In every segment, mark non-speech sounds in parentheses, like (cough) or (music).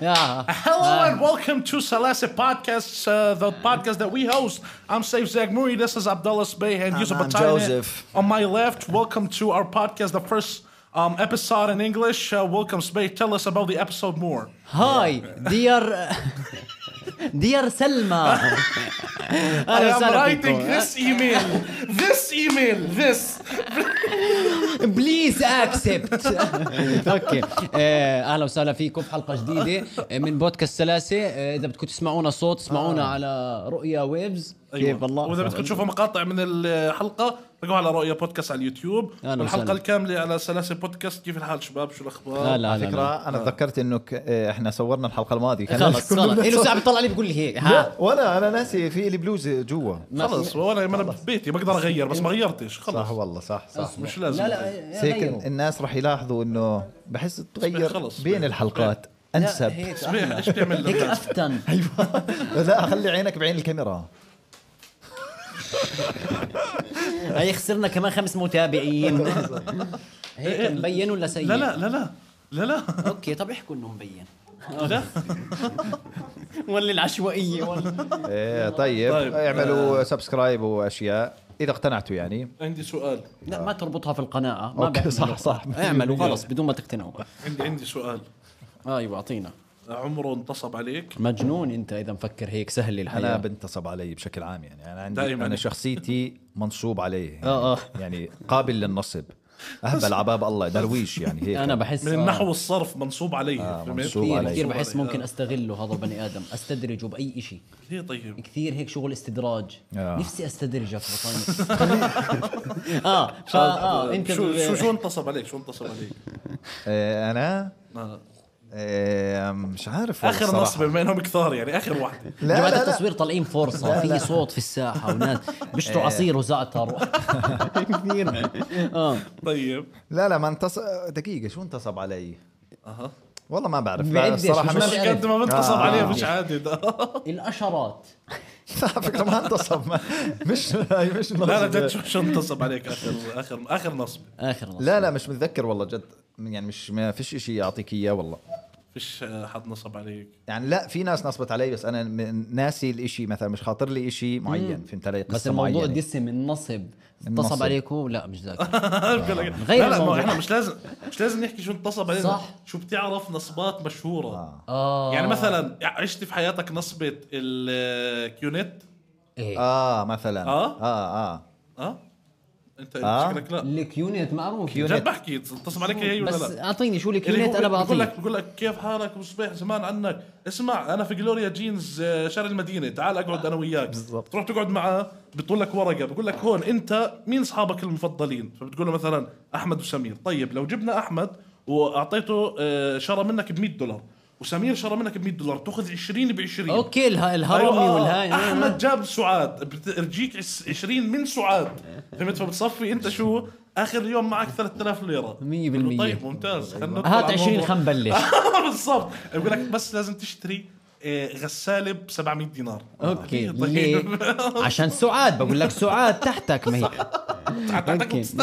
Yeah. Hello and welcome to Salase Podcasts, uh, the podcast that we host. I'm Saif Zagmouri. This is Abdullah Spey and, And Yusuf I'm Atayne. Joseph. On my left, welcome to our podcast, the first um, episode in English. Uh, welcome, Spey. Tell us about the episode (laughs) more. هاي ديار ديار سلمى I اهلا am وسهلا writing فيكم this (laughs) email. this email. This. بليز اكسبت اوكي آه، اهلا وسهلا فيكم في حلقه جديده من بودكاست سلاسه آه، اذا بدكم تسمعونا صوت اسمعونا على رؤيا ويفز كيف واذا والله أيوة. بدكم تشوفوا مقاطع من الحلقه تلقوها على رؤيا بودكاست على اليوتيوب أهلا والحلقه وسهلا. الكامله على سلاسه بودكاست كيف الحال شباب شو الاخبار هلا على هلا فكره انا تذكرت انه ك- إيه، احنا صورنا الحلقه الماضيه كان خلص كلنا خلص صور- له ساعه بيطلع لي بيقول لي هيك ها ولا انا ناسي في لي بلوزه جوا خلص وانا انا ببيتي بقدر اغير بس ما غيرتش خلص إيه. صح والله صح صح مش لازم لا لا بس هيك غيره. الناس راح يلاحظوا انه بحس تغير خلص. بين الحلقات (laughs) انسب هيك صبيح أحلى. ايش (laughs) تعمل هيك للناس؟ افتن (laughs) أيوة. لا خلي عينك بعين الكاميرا هي خسرنا كمان خمس (laughs) متابعين هيك مبين ولا سيء؟ لا لا لا لا لا لا اوكي طب احكوا انه مبين لا (laughs) ولا العشوائيه ولا إيه، طيب طيب. اعملوا سبسكرايب واشياء اذا اقتنعتوا يعني عندي سؤال لا ما تربطها في القناعه ما أوكي، بيعملوا. صح، صح. اعملوا خلص بدون ما تقتنعوا عندي عندي سؤال ايوه اعطينا عمره انتصب عليك مجنون انت اذا مفكر هيك سهل انا الحياه بنتصب علي بشكل عام يعني انا عندي دايماً. انا شخصيتي منصوب علي يعني, آه، آه. يعني قابل للنصب اهبل عباب الله درويش يعني هيك انا بحس آه، من النحو والصرف منصوب علي فهمت؟ منصوب كثير علي. كثير بحس منصوب علي. ممكن استغله هذا البني ادم استدرجه باي شيء آه. ليه طيب كثير هيك شغل استدراج آه. نفسي استدرجك (laughs) بطاني اه فا اه انت شو شو ب- (laughs) شو انتصب عليك شو انتصب عليك آه، انا آه. آه، مش عارف طيب، والله اخر الصراحة. نصب بما انهم كثار يعني اخر واحده لا جماعة لا لا التصوير طالعين فرصة في صوت في الساحة وناس بيشتروا عصير وزعتر و- كثير اه طيب لا لا ما انتصب دقيقة شو انتصب علي؟ اها والله ما بعرف لا، بعدش، الصراحة مش مش بعرف. قد ما منتصب آه. عليه مش عادي (laughs) ده الأشرات لا (laughs) على فكرة ما انتصب ما- مش هاي مش لا لا نصب. جد شو- شو انتصب عليك اخر اخر اخر نصب آخر نص لا لا مش متذكر والله جد يعني مش ما فيش اشي يعطيك اياه والله فيش آه، حد نصب عليك يعني لا في ناس نصبت علي بس انا م- ناسي الاشي مثلا مش خاطر لي اشي معين فهمت علي قصة بس الموضوع معينة. دسم من نصب النصب. اتصب عليكم لا مش ذاك بقول لك- غير لا لا ما الموضوع. احنا مش لازم مش لازم نحكي شو انتصب علينا صح. شو بتعرف نصبات مشهوره اه يعني مثلا عشت في حياتك نصبة الكيونت ايه اه مثلا آه؟ اه اه اه انت آه. شكلك لا الكيونت معروف جد بحكي اتصل عليك هي ولا بس لا اعطيني شو اللي الكيونت يعني هو انا بقول بعطيك لك بقول لك كيف حالك وصبيح زمان عنك اسمع انا في جلوريا جينز آه، شارع المدينه تعال اقعد انا وياك بالضبط. تروح تقعد معه بيطول لك ورقه بقول لك هون انت مين اصحابك المفضلين فبتقول له مثلا احمد وسمير طيب لو جبنا احمد واعطيته آه، شرى منك ب 100 دولار وسمير شرى منك ب 100 دولار تاخذ 20 ب 20 اوكي الها- أيوة، الهرمي آه، والهاي احمد جاب سعاد بترجيك 20 من سعاد فهمت فبتصفي انت شو اخر يوم معك 3000 ليره 100% طيب ممتاز خلنا ندخل هات على 20 الموضوع. خلينا نبلش (laughs) بالضبط بقول لك بس لازم تشتري آه، غساله ب 700 دينار اوكي طيب. ليه؟ عشان سعاد بقول لك سعاد تحتك ما هي عم أوكي. تستنى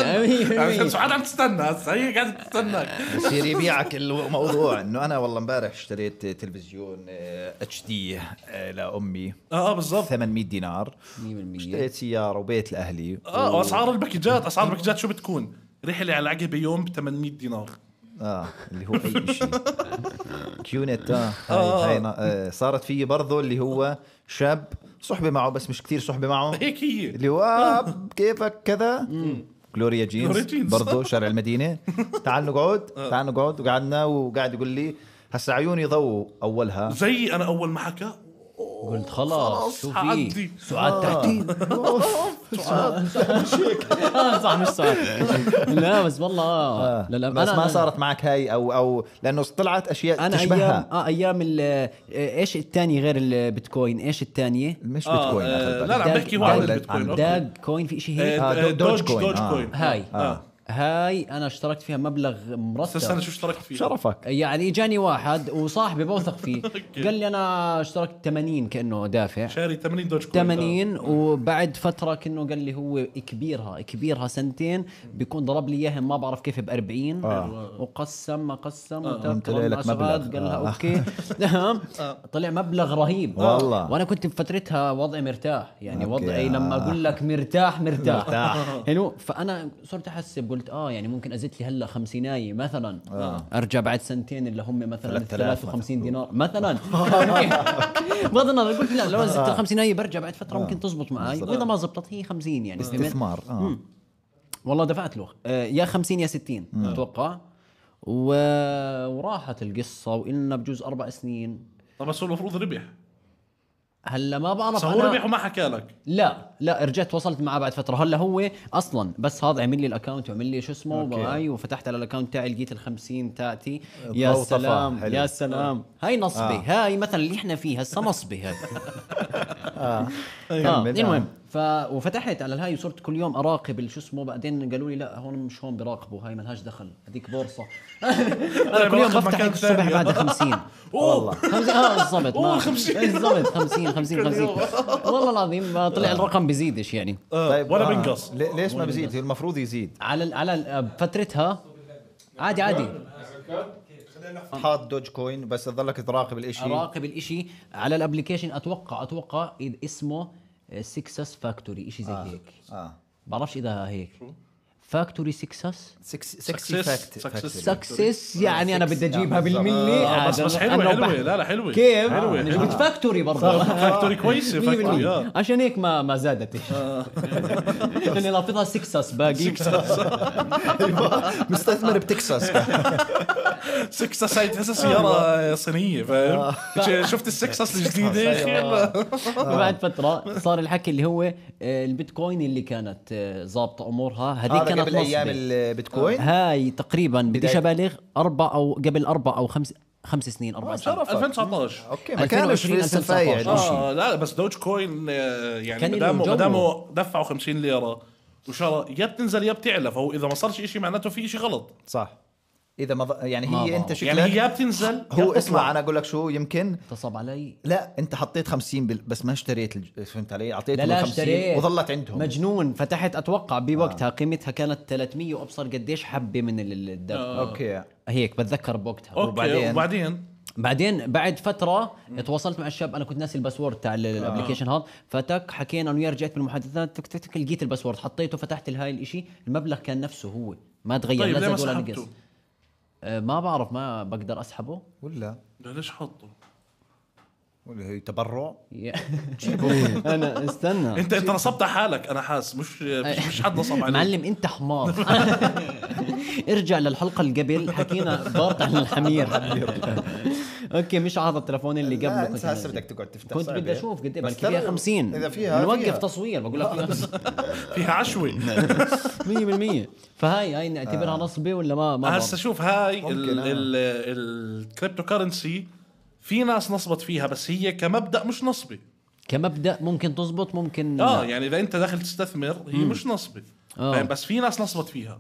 عشان 100%. (laughs) سعاد عم تستنى هسه هي قاعده تستناك بصير (laughs) يبيعك الموضوع انه انا والله امبارح اشتريت تلفزيون آه، اتش دي لامي اه آه، بالضبط 800 دينار 100% اشتريت سياره وبيت لاهلي اه واسعار الباكجات اسعار الباكجات شو بتكون؟ رحله على العقبه يوم ب 800 دينار اه اللي هو اي (laughs) شيء كيونت اه هاي- هاي نا- آه، صارت فيي برضه اللي هو شاب صحبه معه بس مش كثير صحبه معه هيك هي اللي هو آه، كيفك كذا جلوريا جلوريا جينز جينز. برضه شارع (laughs) المدينه تعال نقعد تعال نقعد وقعدنا وقاعد يقول لي هسا عيوني ضو اولها (laughs) زي انا اول ما حكى قلت خلاص شو حعدي. في سعاد تحتي آه، صح مش سعاد لا بس والله آه. لا لا بس أنا- ما أنا- صارت معك هاي او او لانه طلعت اشياء انا ايام تشبهها اه ايام ال- آه، ايش الثانيه غير البيتكوين ايش الثانيه مش آه، بيتكوين آه، لا، آخر لا، عم بالك. بحكي هو عن داج- البيتكوين، عن أوكي. داج. داج كوين في شيء هيك آه، آه، دوج دوج كوين، دوج آه. كوين هاي. آه. هاي انا اشتركت فيها مبلغ بس انا مرتب شو اشتركت فيه شرفك يعني اجاني واحد وصاحبي بوثق فيه (laughs) قال لي انا اشتركت 80 كانه دافع شاري 80 دوج كوين 80 وبعد فتره كانه قال لي هو كبيرها كبيرها سنتين بيكون ضرب لي اياها ما بعرف كيف ب 40 آه. وقسم ما قسم وأنت وترك لك مع مبلغ. سعاد، قال لها آه. (laughs) اوكي تمام طلع مبلغ رهيب والله. وانا كنت بفترتها وضعي مرتاح يعني أوكي. وضعي لما اقول لك مرتاح مرتاح مرتاح. (laughs) حلو فانا صرت احسب قلت اه يعني ممكن ازت لي هلا خمسينايه مثلا آه. ارجع بعد سنتين اللي هم مثلا 3000 53 دينار مثلا (laughs) بغض النظر قلت لا لو زدت ال 50 برجع بعد فتره ممكن تزبط معي واذا ما زبطت هي 50 يعني فهمت؟ آه. استثمار اه والله دفعت له آه، يا 50 يا 60 اتوقع و... وراحت القصه وإلنا بجوز اربع سنين آه. طب بس هو المفروض ربح هلا ما بس بعرف هو أنا- ربح وما حكى لك لا لا رجعت وصلت معه بعد فتره هلا هو اصلا بس هذا عمل لي الاكونت وعمل لي شو اسمه أوكي. معي وفتحت على الاكونت تاعي لقيت ال 50 تاعتي يا الضوء طفى. سلام حلو. يا سلام هاي نصبي آه. هاي مثلا اللي احنا فيه هسه نصبي هاي آه. كمل. المهم ف... وفتحت على الهاي وصرت كل يوم اراقب ال- شو اسمه بعدين قالوا لي لا هون مش هون بيراقبوا هاي ملهاش دخل هذيك (laughs) بورصه انا كل يوم بيراقب بفتح مكان هيك الصبح ثاني. بعد (laughs) 50 والله خمسين اه بالضبط أوه، ما- 50. بالضبط (laughs) 50 50 50 يوم. والله العظيم ما طلع الرقم بيزيدش يعني آه، طيب، ولا بنقص لي- ليش ما بزيد المفروض يزيد على ال- على ال- فترتها عادي عادي آه. حاط دوج كوين بس تضلك تراقب الاشي اراقب الاشي على الابلكيشن اتوقع اتوقع إذ- اسمه سكسس فاكتوري اشي آه، زي هيك اه بعرفش اذا هيك فاكتوري سكسس سكسي Success. فاكت سكسس يعني انا بدي اجيبها آه، بالضبط. بالملي آه، بس هذا بس أنا حلوه حلوه بحكي. آه، لا لا حلوه (laughs) كيف؟ حلوه مش حلوه. قلت فاكتوري برضه آه، فاكتوري كويسه فاكتوري آه. 100% عشان هيك ما ما زادت (laughs) لاني لافظها سكسس باقي (laughs) آه. مستثمر (laughs) بتكساس سكسس هاي تحسها سياره صينيه آه، فاهم ش- شفت السكسس الجديده (laughs) أخي؟ بعد فتره صار الحكي اللي هو آه، البيتكوين اللي كانت آه، ظابطه امورها هذيك هذا كانت قبل ايام نصبي آه. البيتكوين هاي تقريبا بديش بداية- ابالغ اربع او قبل اربع او خمس خمس سنين اربع سنين شرف 2019 اوكي ما كانش 2020 في لسه الفايع 2019. الاشي اه آه، لا لا بس دوج كوين آه، يعني كان له مدامه جو. مدامه دفعوا 50 ليره وشرى يا بتنزل يا بتعلى فهو اذا ما صارش شيء معناته في شيء غلط صح اذا ما ض- يعني ما هي انت بعرف. شكلك يعني هي يا بتنزل يا هو بتطلع. اسمع انا اقول لك شو يمكن اتصل علي لا انت حطيت 50 بال... بس ما اشتريت الج... فهمت علي اعطيتهم لا لا 50 اشتريت وظلت عندهم آه. مجنون فتحت اتوقع بوقتها قيمتها كانت 300 وابصر قديش حبه من ال- الدب آه. اوكي هيك بتذكر بوقتها اوكي وبعدين؟ وبعدين بعدين بعد فتره تواصلت مع الشاب انا كنت ناسي الباسورد تاع آه. الابلكيشن هذا فتك حكينا انا وياه رجعت بالمحادثات تك تك تك لقيت الباسورد حطيته فتحت الهاي الاشي المبلغ كان نفسه هو ما تغير طيب لا ليه ما زاد ولا سحبته؟ نقص آه، ما بعرف ما بقدر اسحبه (laughs) ولا لا ليش حطه؟ ولا هي تبرع يا- انا استنى انت انت نصبت على حالك انا حاس مش مش, مش حد نصب (laughs) عليك معلم انت حمار (laughs) ارجع للحلقه اللي قبل حكينا بارت عن (laughs) الحمير اوكي مش هذا التليفون اللي قبله لا كنت انسى هسه نازل. بدك تقعد تفتح كنت بدي صعبة. اشوف قد ايه بس بلكي فيها ترى 50 اذا فيها نوقف فيها. تصوير بقول (laughs) لك فيها (laughs) عشوه 100% فهاي هاي آه. نعتبرها نصبه ولا ما ما هسه شوف هاي ممكن، آه. الكريبتو كارنسي في ناس نصبت فيها بس هي كمبدا مش نصبه كمبدا ممكن تزبط ممكن اه لا. يعني اذا انت داخل تستثمر هي مش نصبه آه. فاهم؟ بس في ناس نصبت فيها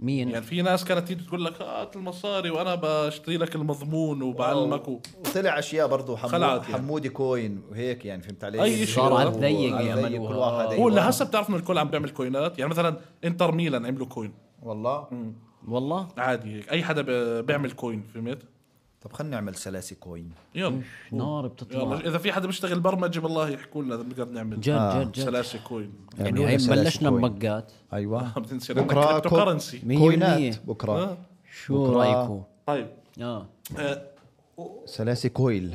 مين يعني في ناس كانت تيجي تقول لك هات المصاري وانا بشتري لك المضمون وبعلمك و... وطلع اشياء برضه خلعت حمود يعني. حمودي كوين وهيك يعني فهمت علي أي شيء. صار على الضيق وعلى الضيق يعملوها. كل واحد هو أيوة. لهسه بتعرف انه الكل عم بيعمل كوينات يعني مثلا انتر ميلان عملوا كوين والله والله عادي هيك اي حدا ب- بيعمل كوين فهمت طب خلينا نعمل سلاسي كوين يلا نار يلا بتطلع اذا في حدا بيشتغل برمجه بالله يحكوا لنا بنقدر نعمل آه. جد جد جد سلاسل كوين يعني هي بلشنا بمقات ايوه (laughs) بتنسى بكرة كريبتو كو- كرنسي مية كوينات بالمية. بكره شو بكرة. رايكم طيب اه آه، سلاسي كويل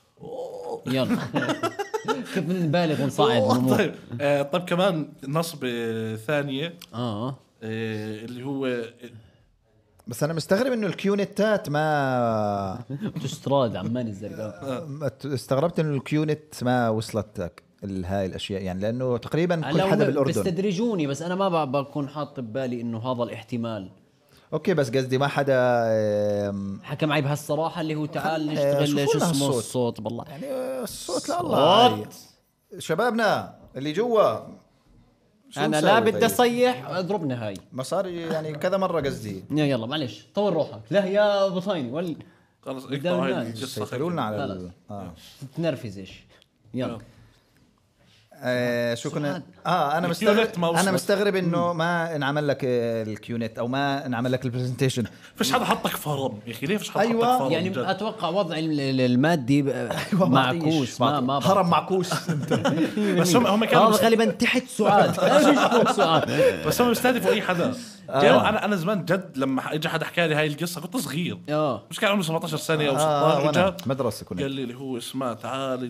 (laughs) يلا كيف بدنا نبالغ ونصعد الامور طيب آه، طيب كمان نصبة ثانية اه آه، اللي هو بس انا مستغرب انه الكيونتات ما تستراد عمان الزرقاء ما ت- استغربت انه الكيونت ما وصلت لك ال- هاي الاشياء يعني لانه تقريبا كل هلا حدا هم بالاردن بيستدرجوني بس انا ما ب- بكون حاط ببالي انه هذا الاحتمال اوكي بس قصدي ما حدا آم، حكى معي بهالصراحه اللي هو تعال نشتغل شوفوا شو لنا اسمه هالصوت. الصوت بالله يعني آه، الصوت لله شبابنا اللي جوا شو انا نسوي لا طيب؟ بدي اصيح اضربنا هاي ما صار يعني كذا مره قصدي يا يلا معلش طول روحك لا يا ابو طيني ولا خلص بدنا اقطع هاي ننام. القصه سيطروا لنا على خلص. ال... آه. تتنرفز ايش يلا آه شو كنا اه انا الكيونت مستغرب ما انا وصلت. مستغرب انه ما انعمل لك آه، الكيونت او ما انعمل لك البرزنتيشن فيش حدا حطك فرم يا اخي ليه فيش حدا أيوة، حطك فرم يعني جد؟ اتوقع وضع ال- ال- المادي (laughs) ب- معكوس (laughs) ما ما بعرف. هرم معكوس (laughs) بس هم هم كانوا هذا غالبا تحت (laughs) سؤال (laughs) ايش فوق سؤال بس هم بيستهدفوا اي حدا يعني انا انا زمان جد لما اجى حدا حكى لي هاي القصه كنت صغير اه مش كان عمري 17 سنه او آه 16 وأنا وجا مدرسه قال كنا لي اللي هو اسمع تعال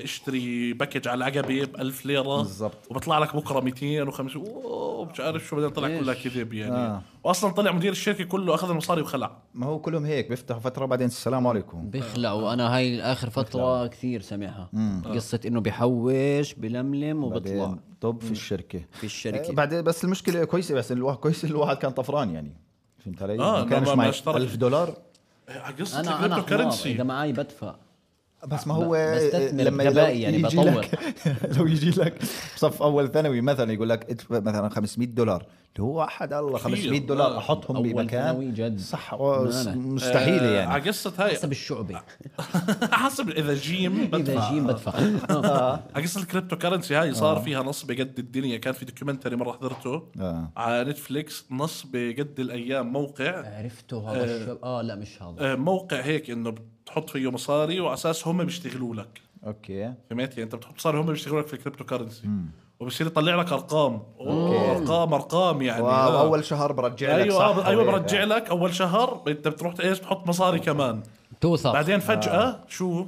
اه، اشتري باكج على العقبه ب 1000 ليره بالضبط. وبطلع لك بكره 250 اوه مش عارف شو بعدين طلع إيش؟ كلها كذب يعني آه. واصلا طلع مدير الشركه كله اخذ المصاري وخلع ما هو كلهم هيك بيفتحوا فتره بعدين السلام عليكم بيخلعوا انا هاي اخر فتره كثير سامعها قصه انه بحوش بلملم وبطلع بعدين طب في الشركه في الشركة. آه، بعدين بس المشكله كويسه بس الواحد كويس الواحد كان طفران يعني فهمت علي؟ آه، ما ما- كانش ما- ما معي اشترك. 1000 دولار قصه انا انا الكريبتو حمار كرنسي اذا معي بدفع بس ما هو آه، ب- بستثمر لو بغبائي يعني يجي بطور. لك (laughs) لو يجي لك بصف اول ثانوي مثلا يقول لك ادفع مثلا 500 دولار اللي هو احد الله 500 دولار آه. احطهم أول ثانوي بمكان جد. صح أنا. مستحيل آه، يعني على قصه هاي حسب الشعبي (laughs) حسب اذا جيم بدفع. اذا جيم بدفع على قصه الكريبتو كرنسي هاي صار فيها نصب قد الدنيا كان في دوكيومنتري مره حضرته آه. على نتفليكس نصب قد الايام موقع عرفته هذا الشعب اه لا مش هذا آه، موقع هيك انه بتحط فيه مصاري وعلى اساس هم بيشتغلوا لك اوكي فهمت يعني انت بتحط مصاري هم بيشتغلوا لك في الكريبتو كرنسي وبصير يطلع لك ارقام أوه، ارقام ارقام يعني آه. واو اول شهر برجع لك ايوه صح آه، ايوه حبيبي. برجع لك اول شهر انت بتروح ايش بتحط مصاري كمان توثق بعدين آه. فجاه شو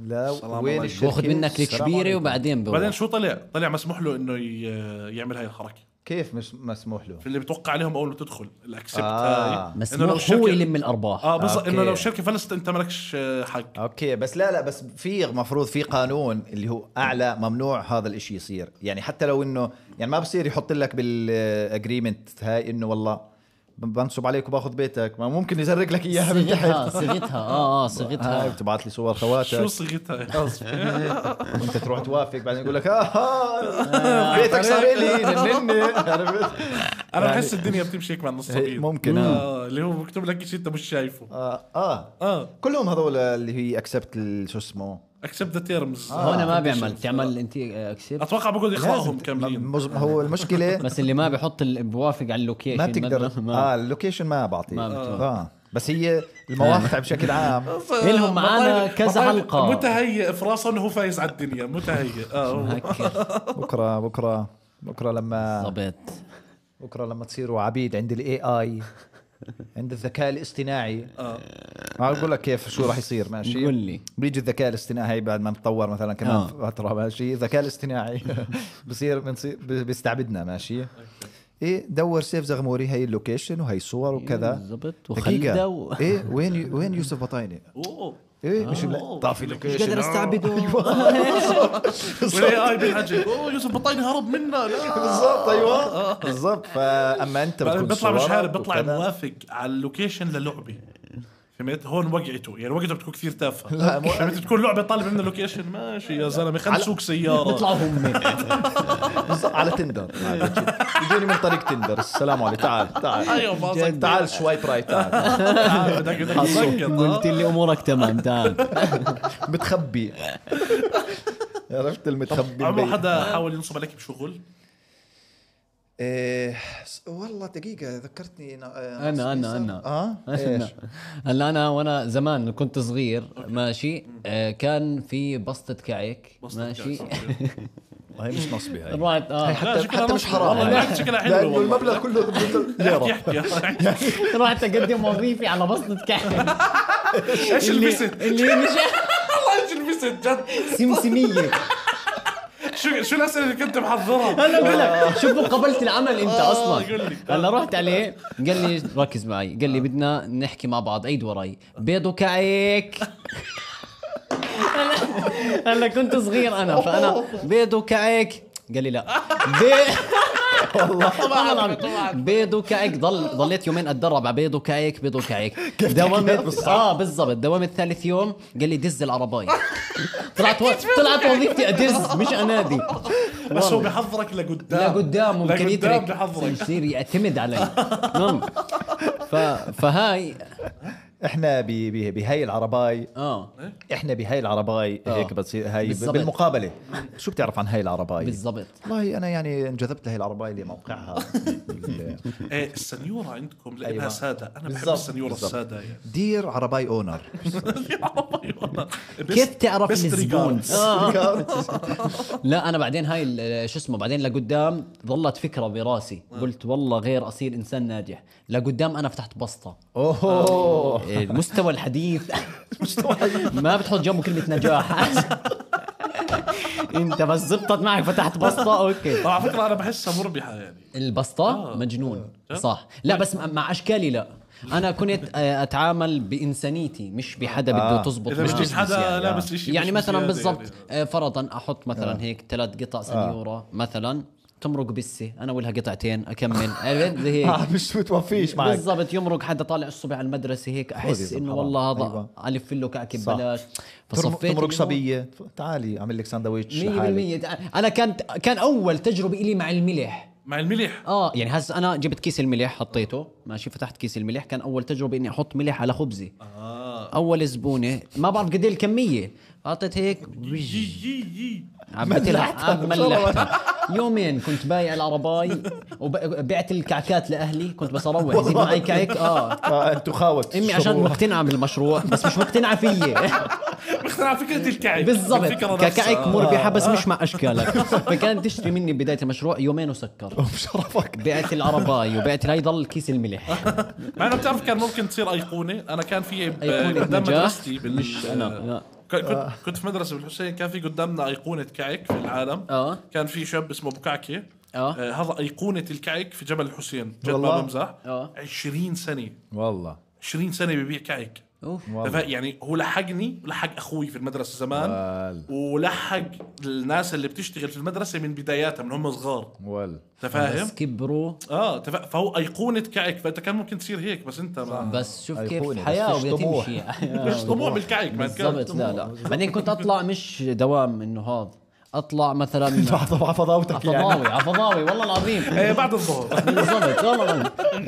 لا وين عليكم. الشركه باخذ منك السلام الكبيره عليكم. وبعدين بروح. بعدين شو طلع طلع مسموح له انه ي- يعمل هاي الحركه كيف مش مسموح له في اللي بتوقع عليهم اول ما تدخل الاكسبت آه. هاي إنه لو مسموح الشركة- هو يلم الارباح اه بس أوكي. انه لو شركه فلست انت مالكش آه، حق اوكي بس لا لا بس في مفروض في قانون اللي هو اعلى ممنوع هذا الاشي يصير يعني حتى لو انه يعني ما بصير يحط لك بالاجريمنت هاي انه والله بنصب عليك وباخذ بيتك ما ممكن يزرق لك اياها من صيغتها تحت صيغتها اه اه هاي صيغتها بتبعت لي صور شو خواتك صيغتها انت تروح توافق بعدين يقول لك اه, آه بيتك صار لي ننني عرفت؟ انا بحس الدنيا بتمشي هيك مع النصابين يعني ممكن، آه. آه، اللي هو بكتب لك شيء انت مش شايفه آه, اه اه كلهم هذول اللي هي اكسبت شو اسمه اكسبت ذا تيرمز هون ما بيعمل تعمل انت اكسبت اتوقع بقعد يقراهم آه، لازم ت- كاملين مز- هو المشكله بس اللي ما بحط ال- بوافق على اللوكيشن ما بتقدر ما- اه اللوكيشن ما بعطيه ما بتوافق. اه بس هي المواقع بشكل عام إلهم معانا بطل- كذا بطل حلقة. متهيئ في راسه انه هو فايز على الدنيا متهيئ اه (laughs) هو- مهكر بكره بكره بكره لما بالضبط بكره لما تصيروا عبيد عند الاي اي عند الذكاء الاصطناعي آه. ما اقول لك كيف شو راح يصير ماشي قول لي. بيجي الذكاء الاصطناعي هي بعد ما نتطور مثلا كمان آه. فتره ماشي الذكاء (laughs) الاصطناعي بصير بنصير ب- بيستعبدنا ماشي ايه دور سيف زغموري هي اللوكيشن وهي الصور وكذا إيه، بالضبط وخلده دقيقة و... ايه وين وين يوسف بطاينه؟ اوه ايه مش آه. ملا- طافي مش اللوكيشن قادر (laughs) استعبده والاي اي بينحجب اوه يوسف بطيني هرب منا لا بالضبط ايوه بالضبط فاما انت بعدين بتكون بيطلع مش صورك عارف بيطلع وكذا. موافق على اللوكيشن للعبه فهمت هون وقعته يعني وقعته بتكون كثير تافهه (laughs) لا، مو- فهمت بتكون لعبه طالب منه لوكيشن ماشي يا زلمه خلينا على- نسوق سياره بيطلعوا هم بالضبط على تندر يجوني من طريق تندر السلام عليكم تعال تعال ايوه فاصل تعال سوايب رايت تعال تعال (laughs) بدك بدك تسكر آه. قلت لي امورك تمام تعال متخبي عرفت المتخبي عمره مبين. حدا آه. حاول ينصب عليك بشغل إيه، س- والله دقيقة ذكرتني أنا آه، أنا- أنا- صار- أنا. اه هلا إيش؟ هلا انا وانا زمان كنت صغير ماشي آه، كان في بسطه كعك بسطة ماشي كعك. هي مش نصبي هاي (laughs) رحت اه لا، حتى شكلها حتى مش نصبي. حرام والله يعني. لا، شكلها حلوة لأنه والله. المبلغ كله يحكي ليرة (laughs) يحكي رحت اقدم وظيفي على بسطه كعك ايش اللي لبست اللي مش والله ايش لبست جد سمسميه شو شو الاسئله اللي كنت محضرها (laughs) انا اقول لك شوف مقابله العمل انت آه، اصلا قول لي. هلا رحت عليه قال لي ركز معي قال لي بدنا نحكي مع بعض ايد وراي بيض (laughs) وكعك (laughs) هلا- هلا كنت صغير انا فانا بيض وكعك قال لي لا بيض والله طبعا بيض وكعك ضل ضليت يومين اتدرب على بيض وكعك بيض (laughs) وكعك تحكيها دوامت بالصح؟ اه بالضبط دوامت ثالث يوم قال لي دز العرباي (laughs) طلعت و... طلعت وظيفتي ادز مش انادي بس هو بحضرك لقدام لقدام ممكن لقدام يترك (laughs) بحضرك يصير يعتمد علي نعم. ف... فهاي احنا ب- ب- بهاي العرباي اه احنا بهاي العرباي آه. هيك بتصير هاي بالضبط. بالمقابله شو بتعرف عن هاي العرباي بالضبط والله انا يعني انجذبت لهي العرباي لموقعها ايه السنيوره عندكم لانها أيوة. ساده انا بحب بالظبط، السنيوره بالظبط. الساده (laughs) يعني دير عرباي اونر كيف تعرف الزبون regards. آه. (laughs) لا انا بعدين هاي ال- شو اسمه بعدين لقدام ظلت فكره براسي قلت والله غير اصير انسان ناجح لقدام انا فتحت بسطه اوه المستوى الحديث ما بتحط جنبه كلمه نجاح انت بس زبطت معك فتحت بسطه اوكي طبعا على فكره انا بحسها مربحه يعني البسطه مجنون صح لا بس مع- مع اشكالي لا انا كنت آه، اتعامل بانسانيتي مش بحدا بده آه. تزبط اذا مش مش بزنس يعني. حدا لابس شيء يعني مثلا بالضبط آه، فرضا احط آه. مثلا هيك ثلاث قطع سنيوره مثلا تمرق بسه انا ولها قطعتين (laughs) اكمل عرفت زي هيك آه، (laughs) مش بتوفيش معك بالضبط يمرق حدا طالع الصبح على المدرسه هيك احس خذ يا انه زلمة، والله هذا حرام. أيوة. الف له كعكه صح. ببلاش تمرق- فصفيت تمرق إنه صبيه تعالي اعمل لك ساندويتش 100% لحالي انا كانت كان اول تجربه لي مع الملح مع الملح اه يعني هسه انا جبت كيس الملح حطيته ماشي فتحت كيس الملح كان اول تجربه اني احط ملح على خبزي اه اول زبونه ما بعرف قد ايه الكميه حطيت هيك يي يي يي عبيت ملحتها. الحق ملحتها يومين كنت بايع العرباي وبعت الكعكات لاهلي كنت بس اروح زي معي كعك اه آه، انتو خاوت امي عشان شروق. مقتنعه بالمشروع بس مش مقتنعه فيي (laughs) مقتنع فكره الكعك بالضبط الفكرة ككعك نفسها. آه. مربحه بس مش مع اشكالك فكانت تشتري مني بدايه المشروع يومين وسكر (laughs) بشرفك بعت العرباي وبعت هاي ضل كيس الملح مع انه بتعرف كان ممكن تصير ايقونه انا كان في ب- أيقونة قدام نجاح؟ مدرستي بال... مش أنا، لا. ك- كنت كنت في مدرسه بالحسين كان في قدامنا ايقونه كعك في العالم آه. كان في شاب اسمه ابو كعكه آه. آه، هذا ايقونه الكعك في جبل الحسين جد ما والله. بمزح آه. 20 سنه والله 20 سنه ببيع كعك اوف والله. فا- يعني هو لحقني ولحق اخوي في المدرسه زمان وال ولحق الناس اللي بتشتغل في المدرسه من بداياتها من هم صغار وال (laughs) انت فاهم بس كبروا اه تفا- فهو ايقونه كعك فانت كان ممكن تصير هيك بس انت ما بس شوف كيف أيقونة، بس حياه فيش وبدها طموح. تمشي (laughs) مش طموح بالكعك ما كان بالضبط لا لا بعدين كنت اطلع مش دوام انه هذا اطلع (laughs) مثلا طبعا فضاوتك يعني عفضاوي عفضاوي والله العظيم ايه (laughs) بعد يعني الظهر بالضبط والله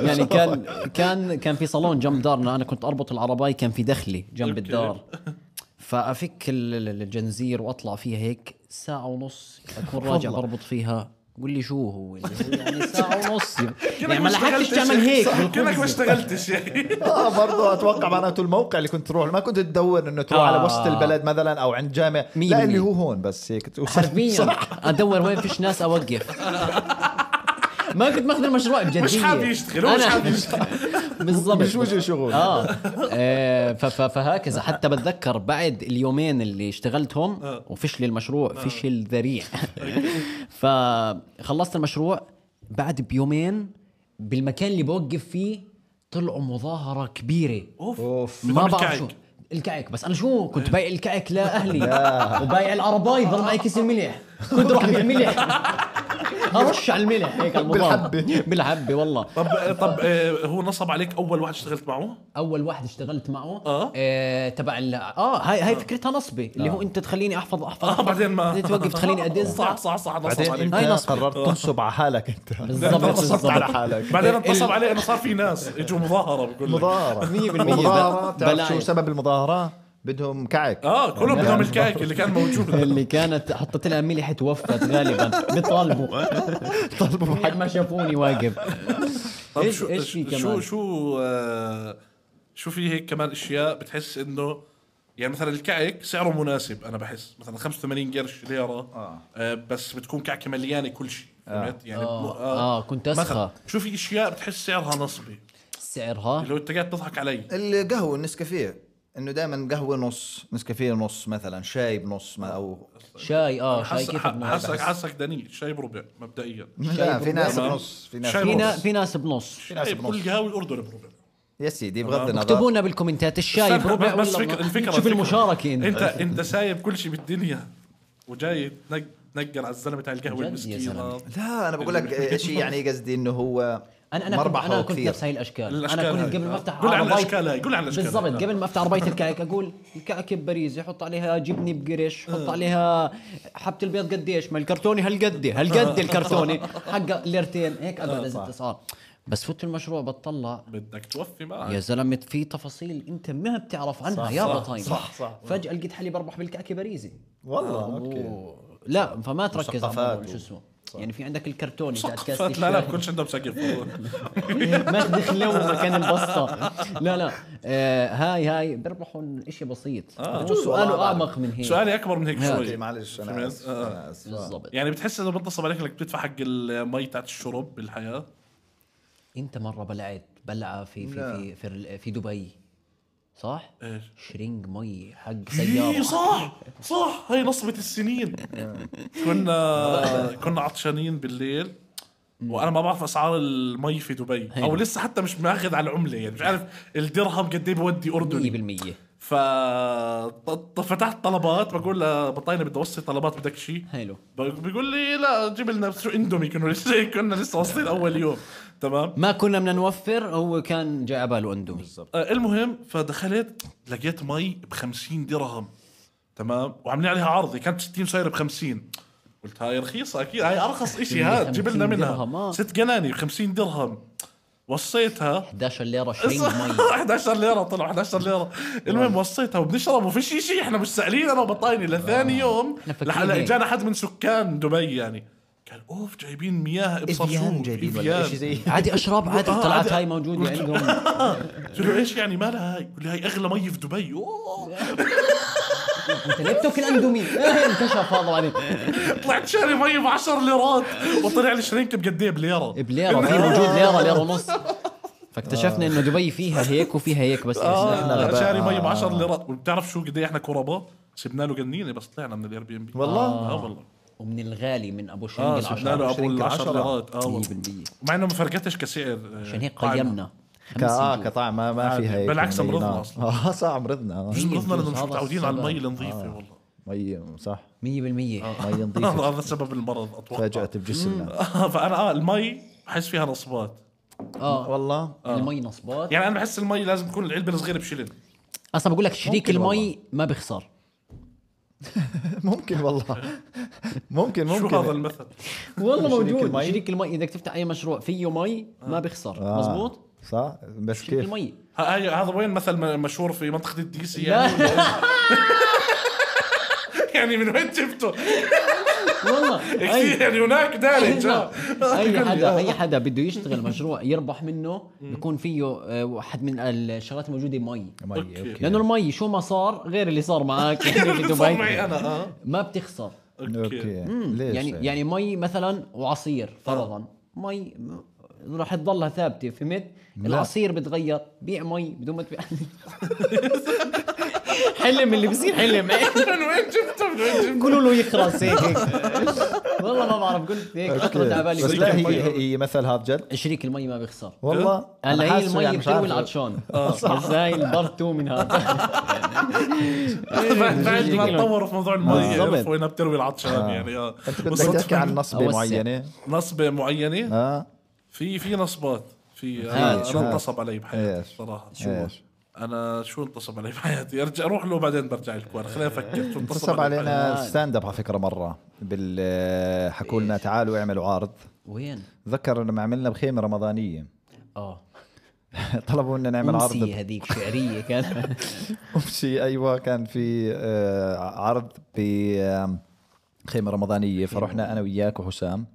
يعني كان كان كان في صالون جنب دارنا انا كنت اربط العرباي كان في دخلي جنب أوكي. الدار فافك ال- ال- الجنزير واطلع فيها هيك ساعه ونص (laughs) اكون راجع بربط فيها قول لي شو هو يعني ساعه ونص يعني ما لحقتش تعمل هيك كانك ما بالخبز. (laughs) اشتغلتش يعني اه برضه اتوقع معناته الموقع اللي كنت تروح ما كنت تدور انه تروح آه. آه. على وسط البلد مثلا او عند جامع مية لا بالمية. اللي هو هون بس هيك (laughs) توصل. حرفيا صح. ادور وين فيش ناس اوقف ما كنت ماخذ المشروع بجديه مش حابب يشتغل، هو مش أنا- حابب يشتغل. (laughs) بالضبط مش وجه شغل. اه آه، ف- ف- فهكذا حتى بتذكر بعد اليومين اللي اشتغلتهم آه. وفشل المشروع فشل ذريع (laughs) فخلصت المشروع بعد بيومين بالمكان اللي بوقف فيه طلعوا مظاهره كبيره اوف ما بدهم بعرف الكعك. شو الكعك بس انا شو كنت إيه. بايع الكعك لاهلي وبايع العرباي ضل معي كيس الملح كنت اروح ابيع ملح ارش على الملح هيك على المضاد. بالحبة. بالحبه والله طب طب آه، هو نصب عليك اول واحد اشتغلت معه (laughs) اول واحد اشتغلت معه آه. آه، تبع ال- اه هاي هاي فكرتها نصبه اللي آه. هو انت تخليني احفظ اه احفظ بعدين ما بدي توقف تخليني (laughs) أدز. صح صح صح نصب بعدين انت عليك هاي نصب. قررت تنصب على حالك انت بالضبط، نصبت بالضبط. على حالك بعدين اتصل علي انه صار في ناس اجوا مظاهره بقول لك مظاهرة 100% مظاهرة بلاعي. بتعرف شو سبب المظاهرة بدهم كعك اه كلهم بدهم الكعك اللي كان موجود اللي كانت حطيت لها ملح توفت غالبا بيطالبوا طلبوا حق ما شافوني واقف طب إيش- شو إيش في شو كمان؟ شو آه، شو في هيك كمان اشياء بتحس انه يعني مثلا الكعك سعره مناسب انا بحس مثلا 85 قرش ليره آه. آه بس بتكون كعكه مليانه كل شيء فهمت يعني آه. اه كنت اسخى مثلا شو في اشياء بتحس سعرها نصبي سعرها لو انت قاعد تضحك علي القهوة النسكافيه انه دائما قهوة نص نسكافيه نص مثلا شاي بنص ما او شاي اه شاي حس- كيف بدنا حسك حسك دني شاي بربع مبدئيا لا في ناس تمام. بنص في ناس شاي في بنص. نا- في ناس بنص في ناس شاي بنص كل قهاوي الاردن بربع يا سيدي بغض اكتبوا النظر لنا بالكومنتات الشاي استنى، بربع بس ولا فكرة- الفكرة- شوف يعني. الفكرة. المشاركه انت انت انت سايب كل شيء بالدنيا وجاي تنق بتنقر على الزلمه تاع القهوه جد يا المسكين زلمة. آه. لا انا بقول لك آه، شيء يعني قصدي انه هو انا انا كنت مربحه انا كنت كثير نفس هاي الاشكال الأشكال انا كنت هاي. قبل ما افتح قول عن عرباية- الأشكال هاي، قول عن الأشكال هاي. بالضبط قبل ما افتح عربايه الكعك اقول الكعك ببريزي حط عليها جبنه بقرش حط آه. عليها حبه البيض قديش ما الكرتوني هالقد هالقد آه. الكرتوني (laughs) حق ليرتين هيك ابدا زدت صار بس فوت المشروع بتطلع بدك توفي يا معك زلمه في تفاصيل انت ما بتعرف عنها صح، يا صح، بطايم صح، صح. فجاه لقيت حالي بربح بالكعكه باريزي والله آه، اوكي لا فما تركز على مثقفات الموضوع، شو اسمه يعني في عندك الكرتوني تاع كاس فتلا لا بكونش عندهم سقف (laughs) ماخذ خلو مكان البسطه (laughs) لا لا آه هاي هي بربحوا شيء بسيط آه، بجوز بجوز والله سؤاله بعد. اعمق من هيك سؤالي اكبر من هيك لا، اوكي شوي معلش شو انا آسف، آه، آه. أنا آسف. بالضبط يعني بتحس انه بنتصب عليك انك بتدفع حق المي تاعت الشرب بالحياه انت مره بلعت بلعه في لا. في في في, ال- في دبي صح؟ ايش شرينج مي حق إيه، سياره صح صح هاي نصبة السنين كنا كنا عطشانين بالليل وانا ما بعرف اسعار المي في دبي او لسه حتى مش ماخذ على العمله يعني مش عارف الدرهم قد ايه بودي اردني 100% ف ط- ط- فتحت طلبات بقول لبطاينه بدي اوصي طلبات بدك شيء حلو بيقول لي لا جيب لنا شو اندومي كنا لسه كنا لسه واصلين اول يوم تمام ما كنا بدنا نوفر هو كان جاي على باله اندومي آه، المهم فدخلت لقيت مي ب 50 درهم تمام وعاملين عليها عرض كانت 60 صايره ب 50 قلت هاي رخيصه اكيد هاي ارخص إشي هاد جيب لنا 50 درهم، آه. منها ست جناني ب 50 درهم وصيتها 11 ليره (laughs) شرينج مي 11 ليره طلعوا 11 ليره المهم وصيتها وبنشرب وفيش شيء احنا مش سائلين انا وبطايني لثاني يوم إحنا فاكرين لحد هيك. اجانا حد من سكان دبي يعني قال اوف جايبين مياه افيان ابصرشوك جايبين ولا شيء زي عادي اشرب عادي آه، طلعت عادي. هاي موجوده عندهم قلت له ايش يعني مالها هاي؟ قال لي هاي اغلى مي في دبي اوه انت ليه بتاكل اندومي؟ إيه، انكشف هذا بعدين طلعت شاري مي ب 10 ليرات وطلع لي شرينك بقد ايه بليره إيه، بليره في موجود ليره ليره ونص فاكتشفنا انه دبي فيها هيك وفيها هيك بس إحنا اه غباء. شاري مي ب 10 ليرات وبتعرف شو قد ايه احنا كرباء سبنا له جنينه بس طلعنا من الاير بي ام بي والله؟ اه والله ومن الغالي من ابو آه، شنق اه العشرة سبنا له ابو شرينك ال 10 العشرة. ليرات طيب، اه والله 100% مع انه ما فرقتش كسعر آه، عشان هيك قاعدة. قيمنا ك- آه، كطعم ما ما عادي. فيها هيك بالعكس يعني، أمرضنا نعم. أصلاً. اه صح امرضنا (laughs) آه. مش نظنا بجوز لانه مش هذا متعودين على المي السبب. النظيفه والله (laughs) مي صح 100% مي هذا نظيفه هذا سبب المرض اتوقع (laughs) فاجأت بجسمنا آه، فانا اه المي بحس فيها نصبات اه والله (laughs) المي نصبات يعني انا بحس المي لازم تكون العلبه الصغيره بشلن اصلا بقول لك شريك ممكن المي ما بيخسر ممكن والله (laughs) ممكن شو هذا ممكن المثل؟ والله شريك موجود المي؟ شريك المي اذا بدك تفتح اي مشروع فيه مي ما بيخسر آه، مزبوط صح بس شريك كيف المي ها- هاي- هذا وين مثل م- مشهور في منطقه الدي سي يعني لا يعني من وين جبته؟ (laughs) والله أيوة. أي- كثير يعني هناك (laughs) دارج آه. اي حدا اي حدا بده يشتغل مشروع يربح منه بيكون فيه آه، واحد من الشغلات الموجوده مي مي أوكي. اوكي لانه المي شو ما صار غير اللي صار معك (laughs) (laughs) يعني (laughs) في صار معي دبي انا اه ما بتخسر اوكي اوكي ليش إيه. يعني يعني مي مثلا وعصير آه. فرضا مي م- راح تضلها ثابته فهمت؟ العصير بتغير بيع مي بدون ما تبيع (laughs) حلم اللي بصير حلم (laughs) من (laughs) وين جبته؟ من وين جبته؟ قولوا له يخرس هيك هيك (laughs) والله ما بعرف قلت هيك خطرت على أوكي. بس بالي لا قلت هي هي مثل هذا جد شريك المي ما بيخسر والله أنا هلا هي حاسه المي يعني مش بتروي (laughs) عارف. العطشان بس هاي البارت 2 من هذا بعد بعد ما شكله. تطوروا في موضوع المي إيه، بالضبط. آه. عرفوا وين بتروي العطشان يعني اه انت بدك وصلت تحكي عن نصبه أوسع. آه. معينه نصبه معينه اه في في نصبات في إيش؟ انا هات. أنا انتصب علي بحياتي إيش؟ الصراحه إيش؟ انا شو انتصب علي بحياتي ارجع اروح له بعدين برجع لك وأنا خليني افكر شو انتصب بحياتي. علينا آه. ستاند اب على فكره مره بال آه، حكوا لنا تعالوا اعملوا عرض (laughs) وين؟ تذكر لما عملنا بخيمه رمضانيه اه (laughs) طلبوا منا نعمل أمسية عرض هذيك شعريه (laughs) كان امشي ايوه كان في آه، عرض بخيمه رمضانيه فرحنا انا وياك وحسام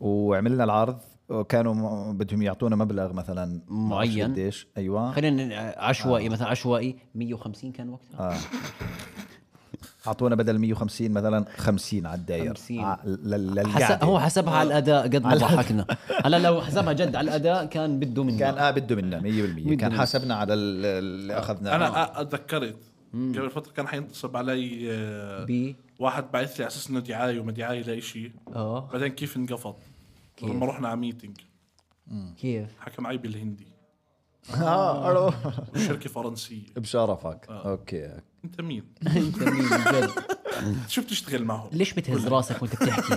وعملنا العرض وكانوا م- بدهم يعطونا مبلغ مثلا ما أعرفش معين. قديش ايوه خلينا ن- آه. عشوائي مثلا عشوائي 150 كان وقتها اعطونا بدل 150 مثلا 50 على الداير 50. ع- لل- حسب للقعدة. هو حسبها على الاداء قد ما ضحكنا هلا لو حسبها جد على الاداء كان بده منا كان اه بده آه. منا 100% كان حاسبنا على ال- اللي اخذناه (laughs) انا أ- اتذكرت قبل فتره كان حينتصب علي آه، بي واحد بعث لي على اساس انه دعايه وما دعايه لشيء آه. اه بعدين كيف انقفض كيف؟ لما رحنا على ميتنج كيف (laughs) حكى معي بالهندي اه ألو. والشركه فرنسيه آه. بشرفك اوكي انت (laughs) مين؟ انت مين بجد؟ شو بتشتغل معهم؟ ليش بتهز راسك وانت بتحكي؟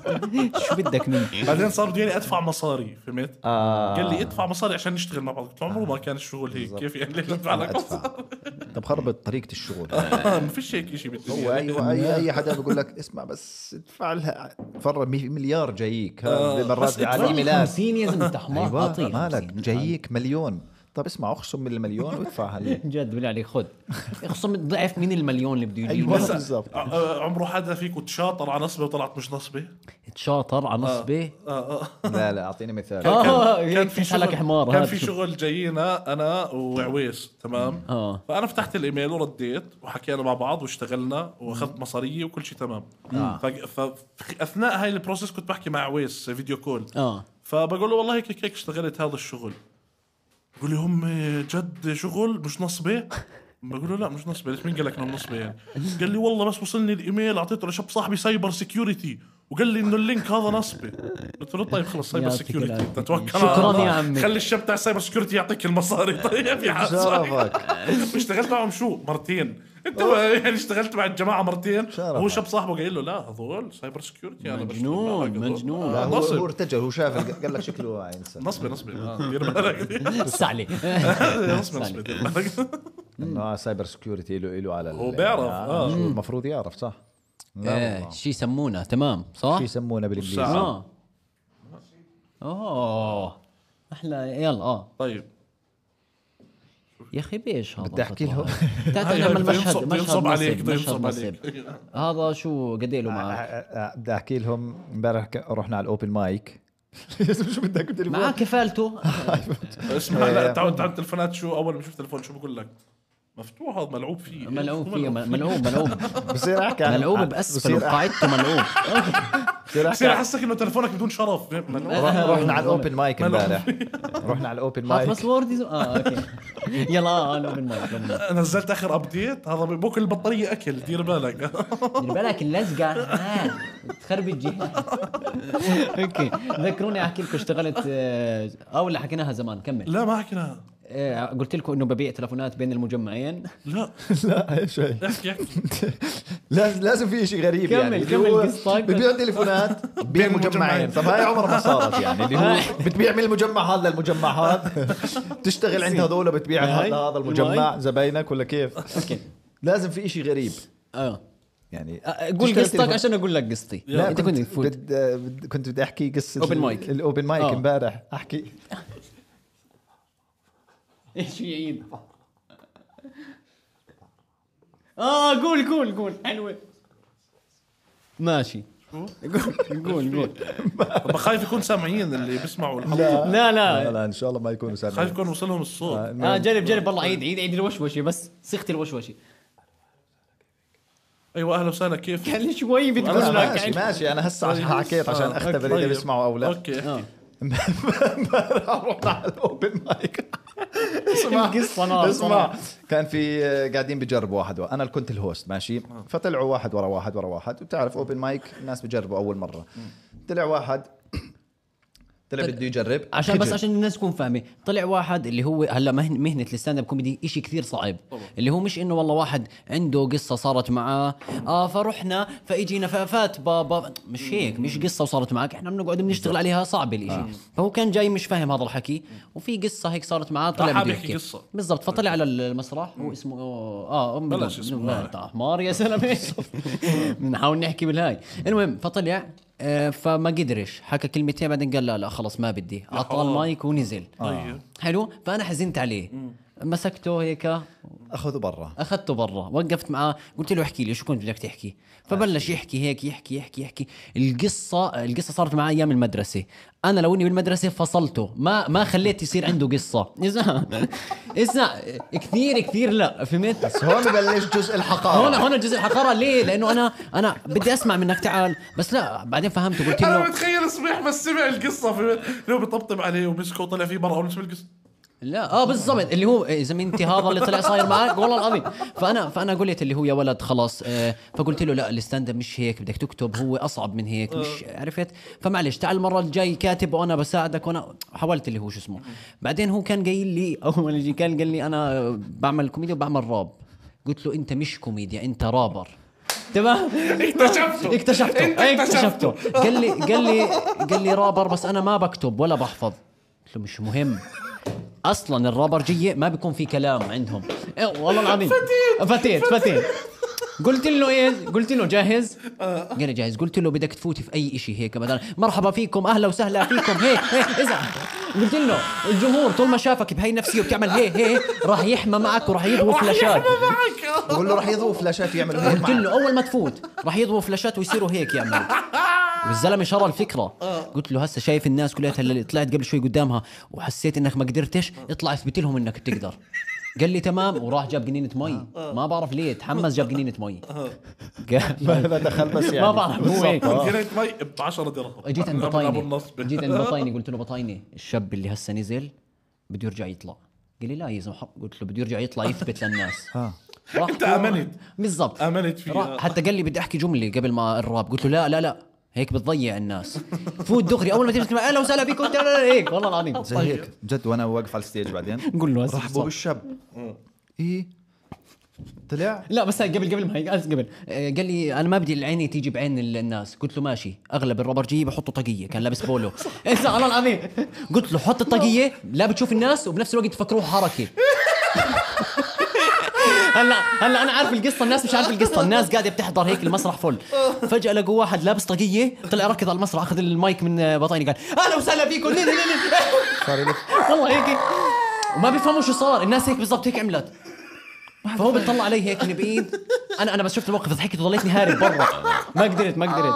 (laughs) شو بدك مني؟ (laughs) بعدين صار بده اياني ادفع مصاري فهمت؟ آه. قال لي ادفع مصاري عشان نشتغل مع بعض قلت له عمره ما كان الشغل هيك كيف يعني ليش ادفع لك مصاري؟ (laughs) ادفع طب خربت طريقه الشغل (laughs) ما فيش هيك شيء هو بالدنيا ايوه اي اي حدا بقول لك اسمع بس ادفع لها فرق مي- مليار جايك ها، آه. بس مرات على الايميلات 50 يا زلمه انت حمار ايوه اعطيه مالك 50. جايك مليون طب اسمع اخصم من المليون وادفع هلا جد بالله عليك خذ اخصم ضعف من المليون اللي بده أيوة. يجيبه بس بالضبط. ع- آه، عمره حدا فيكم تشاطر على نصبه وطلعت مش نصبه؟ تشاطر على آه. نصبه اه اه لا لا اعطيني آه. مثال اه كان- هيك في حالك حمار كان هاد في شو. شغل جايينا انا وعويس تمام آه. فانا فتحت الايميل ورديت وحكينا مع بعض واشتغلنا واخذت مصاريه وكل شيء تمام آه. فاثناء هاي البروسيس كنت بحكي مع عويس فيديو كول اه فبقول له والله هيك هيك هيك اشتغلت هذا الشغل بقول لي هم جد شغل مش نصبه بقول له لا مش نصبه ليش مين قال لك انه نصبه يعني قال لي والله بس وصلني الايميل اعطيته لشاب صاحبي سايبر سكيورتي وقال لي انه اللينك هذا نصبه قلت له طيب خلص سايبر يعطيك سكيورتي العافية. انت توكل شكراً على الله. يا عمي. خلي الشاب تاع سايبر سكيورتي يعطيك المصاري طيب يا حسن شرفك (laughs) اشتغلت معهم شو مرتين انت يعني اشتغلت مع الجماعه مرتين شرفك. هو شاب صاحبه قايل له لا هذول سايبر سكيورتي انا بشتغل مجنون، معك هذول. مجنون. آه، لا، هو نصب. هو ارتجل هو شاف الق- قال لك شكله انسان نصبي نصبي دير (laughs) بالك بس (laughs) عليه نصبي نصبي دير بالك انه آه، سايبر سكيورتي له له على ال- هو بيعرف، آه. شو المفروض يعرف صح لا ايه والله. شي يسمونه تمام صح؟ شو يسمونه بالانجليزي والساعة. اه اوه احلى يلا اه (laughs) طيب يا اخي بايش هذا بدي أحكي لهم. (laughs) تعال تعال هاي نعمل بده مشهد ينصب- بده مشهد ينصب عليك نصب بده مشهد ينصب نصب عليك هذا شو قديله معك آه، آه، بدي احكي لهم امبارح ك- رحنا على الاوبن مايك (laughs) شو بدك معاه بالتليفون كفالته (laughs) (laughs) اسمع آه. لا تعود تعود التلفونات شو اول ما بشوف تلفون شو بقول لك مفتوح هذا ملعوب فيه ملعوب فيه ملعوب (laughs) ملعوب بصير احكي عن- ملعوب باسفل بصير أح- وقاعدته ملعوب بصير احكي بصير عن- احسك انه يعني تلفونك بدون شرف (laughs) ملعوب رحنا (laughs) رحنا على الاوبن مايك ملعوب. (laughs) امبارح رحنا على الاوبن حاط مايك باسورد يزو- اه اوكي (laughs) يلا آه، انا من مالك من مالك. نزلت اخر ابديت هذا باكل البطاريه اكل دير بالك (laughs) دير بالك اللزقه ها، تخرب (laughs) الجهاز اوكي ذكروني احكي لكم اشتغلت آه، او اللي حكيناها زمان كمل لا ما حكينا آه، قلت لكم انه ببيع تلفونات بين المجمعين لا لا (laughs) ايش هي احكي احكي لازم لازم في شيء غريب كمل- يعني اللي كمل هو قصتك. بتبيع (laughs) تليفونات بين مجمعين مجمعين. طب هاي عمرها ما صارت يعني اللي هو بتبيع من المجمع هذا للمجمع (laughs) هذا بتشتغل عند هذول بتبيع هاي. هذا هذا المجمع زباينك ولا كيف اوكي لازم في شيء غريب اه يعني آه، قول تشتغل قصتك تليفون- عشان اقول لك قصتي لا انت كنت (laughs) تفوت بد... بد... كنت بدي احكي قصه Open ال- mic. الاوبن مايك آه. امبارح احكي ايش في عيد اه قول قول قول حلوه ماشي قول (laughs) قول قول بخايف يكون سامعين اللي بيسمعوا الحلقه لا لا لا لا, لا ان شاء الله ما يكونوا خايف سامعين آه، يكون وصل لهم الصوت اه المهم، جرب جرب والله عيد عيد عيد الوشوشي بس صيغتي الوشوشي ايوه اهلا وسهلا كيف كان شوي بتقول لا، لك يعني ماشي عيد. ماشي انا هسه طيب، عشان حكيت عشان آه، اختبر أوكي. اذا بيسمعوا او لا اوكي آه. (laughs) امبارح رحنا على الاوبن (laughs) مايك القصة نار اسمع صراحة. كان في آه، قاعدين بجربوا واحد واحد. انا اللي كنت الهوست ماشي آه. فطلعوا واحد ورا واحد ورا واحد وبتعرف اوبن مايك الناس بجربوا اول مره طلع واحد طلع بده يجرب طيب. عشان بس خجل. عشان الناس تكون فاهمه طلع واحد اللي هو هلا مهن- مهنه الستاند اب كوميدي إشي كثير صعب اللي هو مش انه والله واحد عنده قصه صارت معاه اه فرحنا فاجينا ففات بابا مش هيك مش قصه وصارت معك احنا بنقعد بنشتغل عليها صعب الإشي آه. فهو كان جاي مش فاهم هذا الحكي وفي قصه هيك صارت معاه آه، طلع حابب بده يحكي يحكي قصة. بالضبط فطلع على المسرح واسمه اه ام بلاش اسمه. لا، انت حمار يا زلمه بنحاول نحكي بالهاي المهم فطلع آه، فما قدرش حكى كلمتين بعدين قال لا لا خلص ما بدي اعطاه حرام. المايك ونزل طيب. حلو فانا حزنت عليه مسكته هيك اخذه برا اخذته برا وقفت معاه قلت له احكي لي شو كنت بدك تحكي فبلش يحكي هيك يحكي يحكي يحكي القصه القصه صارت معاه ايام المدرسه انا لو اني بالمدرسه فصلته ما ما خليت يصير عنده قصه اسمع اسمع كثير كثير لا فهمت بس هون ببلش جزء هون الحقاره هون جزء الحقاره ليه؟ لانه انا انا بدي اسمع منك تعال بس لا بعدين فهمت قلت انا له متخيل صبيح بس سمع القصه في لو بيطبطب عليه ومسكه وطلع فيه برا اول ما سمع القصه لا اه بالضبط اللي هو إيه، زميلتي هذا اللي طلع صاير معك والله العظيم فانا فانا قلت اللي هو يا ولد خلاص آه، فقلت له لا الستاند اب مش هيك بدك تكتب هو اصعب من هيك مش عرفت فمعلش تعال المره الجاي كاتب وانا بساعدك وانا حاولت اللي هو شو (laughs) اسمه بعدين هو كان قايل لي اول ما يجي كان قال لي انا بعمل كوميديا وبعمل راب قلت له انت مش كوميديا انت رابر تمام اكتشفته إيه، اكتشفته انت اكتشفته قال لي قال لي قال لي رابر بس انا ما بكتب ولا بحفظ قلت له مش مهم اصلا الرابر جي ما بيكون في كلام عندهم إيه والله العظيم فتيت فتيت فتيت آه. قلت له ايه قلت له جاهز قال لي جاهز قلت له بدك تفوتي في اي شيء هيك مثلا مرحبا فيكم اهلا وسهلا فيكم هيك هيك اذا قلت له الجمهور طول ما شافك بهي النفسيه وبتعمل هيك هيك راح يحمى معك وراح يضوي فلاشات معك بقول له راح يضربوا فلاشات يعملوا هيك قلت معك. له اول ما تفوت راح يضربوا فلاشات ويصيروا هيك يعملوا والزلمه شرى الفكره قلت له هسه شايف الناس كلها اللي طلعت قبل شوي قدامها وحسيت انك ما قدرتش اطلع اثبت لهم انك بتقدر قال لي تمام وراح جاب جنينة مي ما بعرف ليه تحمس جاب جنينة مي ما ما دخل بس يعني ما بعرف هو هيك. بالضبط. آه. جريت مي ب 10 درهم اجيت عند (laughs) من ابو بطايني النصب اجيت عند (laughs) بطايني قلت له بطايني الشاب اللي هسه نزل بده يرجع يطلع قال لي لا يا زلمه حق. قلت له بده يرجع يطلع يثبت (laughs) للناس راح- انت امنت بالضبط آمنت فيها. را- حتى قال لي بدي احكي جمله قبل ما الراب قلت له لا لا لا هيك بتضيع الناس فوت دغري اول ما تمسك اهلا وسهلا فيكم لا، لا، لا، هيك والله العظيم زي هيك جد وانا واقف على الستيج بعدين قول له هسه بالصوت. رحبوا بالشاب ايه طلع لا بس هاي قبل قبل ما هيك قصد قبل آه، قال لي انا ما بدي العيني تيجي بعين ال- الناس قلت له ماشي اغلب الرابرجيه بحطوا طاقيه كان لابس بولو انسى على العظيم قلت له حط الطاقيه لا بتشوف الناس وبنفس الوقت تفكروها حركه (laughs) هلا هلا انا عارف القصه الناس مش عارف القصه الناس قاعده بتحضر هيك المسرح فل فجاه لقوا واحد لابس طاقيه طلع ركض على المسرح اخذ المايك من آه، بطيني قال اهلا وسهلا فيكم (laughs) نين- نين- نين. صار يلف والله هيك وما بيفهموا شو صار الناس هيك بالضبط هيك عملت فهو بيطلع علي هيك من بعيد انا انا بس شفت الموقف ضحكت وضليتني هارب برا ما قدرت ما قدرت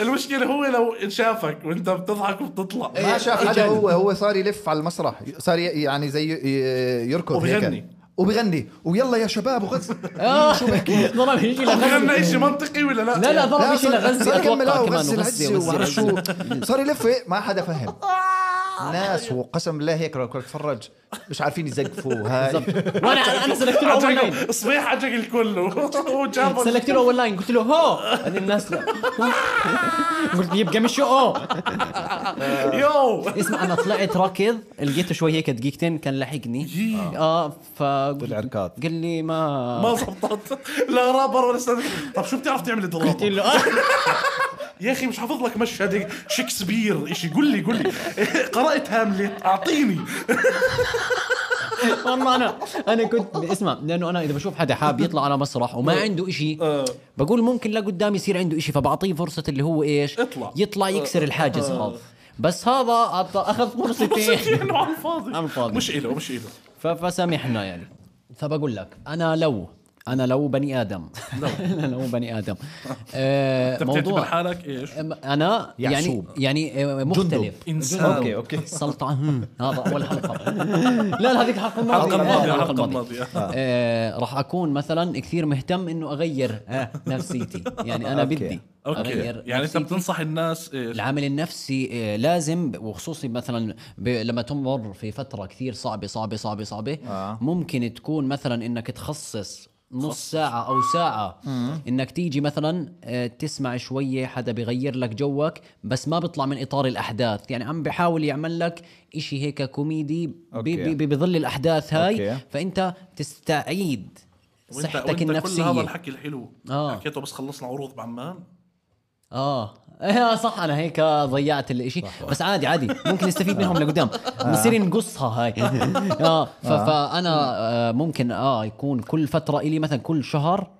المشكله هو لو شافك وانت بتضحك وبتطلع إيه. ما شاف حدا هو هو صار يلف على المسرح صار ي- يعني زي ي- يركض وبيغني. هيك. وبيغني ويلا يا شباب (laughs) وغز آه. (laughs) ضرب شيء غنى لغزي شيء منطقي ولا لا؟ لا لا ضرب شيء لغزي اتوقع كمان وغزي وغزي العزي وعلى وغزي شو صار يلف هيك، ما حدا فهم ناس وقسم بالله هيك لو كنت اتفرج مش عارفين يزقفوا هاي وانا (laughs) انا سلكت له اول لاين عجقل صبيح عجقل كله (laughs) هو جابه سلكت له اول لاين قلت له هو بعدين (laughs) الناس لا قلت يبقى مش هو (laughs) يو اسمع انا طلعت راكض لقيته شوي هيك دقيقتين كان لاحقني اه فقلت بالعركات. قال لي ما ما زبطت لا رابر ولا استاذ طب شو بتعرف تعمل قلت درامه؟ له (laughs) آه. يا اخي مش حافظ لك مشهد هيك شكسبير شيء قول لي (laughs) قول لي قرات هاملت اعطيني والله انا انا كنت اسمع لانه انا اذا بشوف حدا حاب يطلع على مسرح وما عنده إشي آه. بقول ممكن لا قدام يصير عنده إشي فبعطيه فرصه اللي هو ايش اطلع. يطلع يكسر الحاجز هذا بس هذا عط- اخذ (laughs) فرصتي انه على الفاضي على الفاضي. مش اله مش اله ف- فسامحنا يعني فبقول لك انا لو انا لو بني ادم (laughs) لو انا لو بني ادم آه، انت بتعتبر موضوع حالك ايش؟ انا يعني يعسوب. يعني آه، مختلف إنسان. أوكي، أوكي. (laughs) سلطان هذا اول حلقه لا لا هذيك الحلقه الحلقه الماضيه آه، الحلقه الماضيه آه، راح اكون مثلا كثير مهتم انه اغير آه، نفسيتي يعني انا أوكي. بدي اوكي اغير يعني انت نفسيتي. بتنصح الناس ايش؟ العامل النفسي آه، لازم وخصوصي مثلا ب- لما تمر في فتره كثير صعبه صعبه صعبه صعبه آه. ممكن تكون مثلا انك تخصص نص ساعة أو ساعة إنك تيجي مثلا آه، تسمع شوية حدا بغير لك جوك بس ما بيطلع من إطار الأحداث يعني عم بحاول يعمل لك إشي هيك كوميدي ب- أوكي. ب- بظل الأحداث هاي أوكي. فأنت تستعيد وانت صحتك وانت كل هذا النفسية الحكي الحلو آه. حكيته بس خلصنا عروض بعمان (laughs) اه ايه صح انا هيك ضيعت الاشي بس عادي عادي ممكن نستفيد آه. منهم لقدام بنصير نقصها (laughs) هاي اه ف- فانا آه، ممكن اه يكون كل فتره الي مثلا كل شهر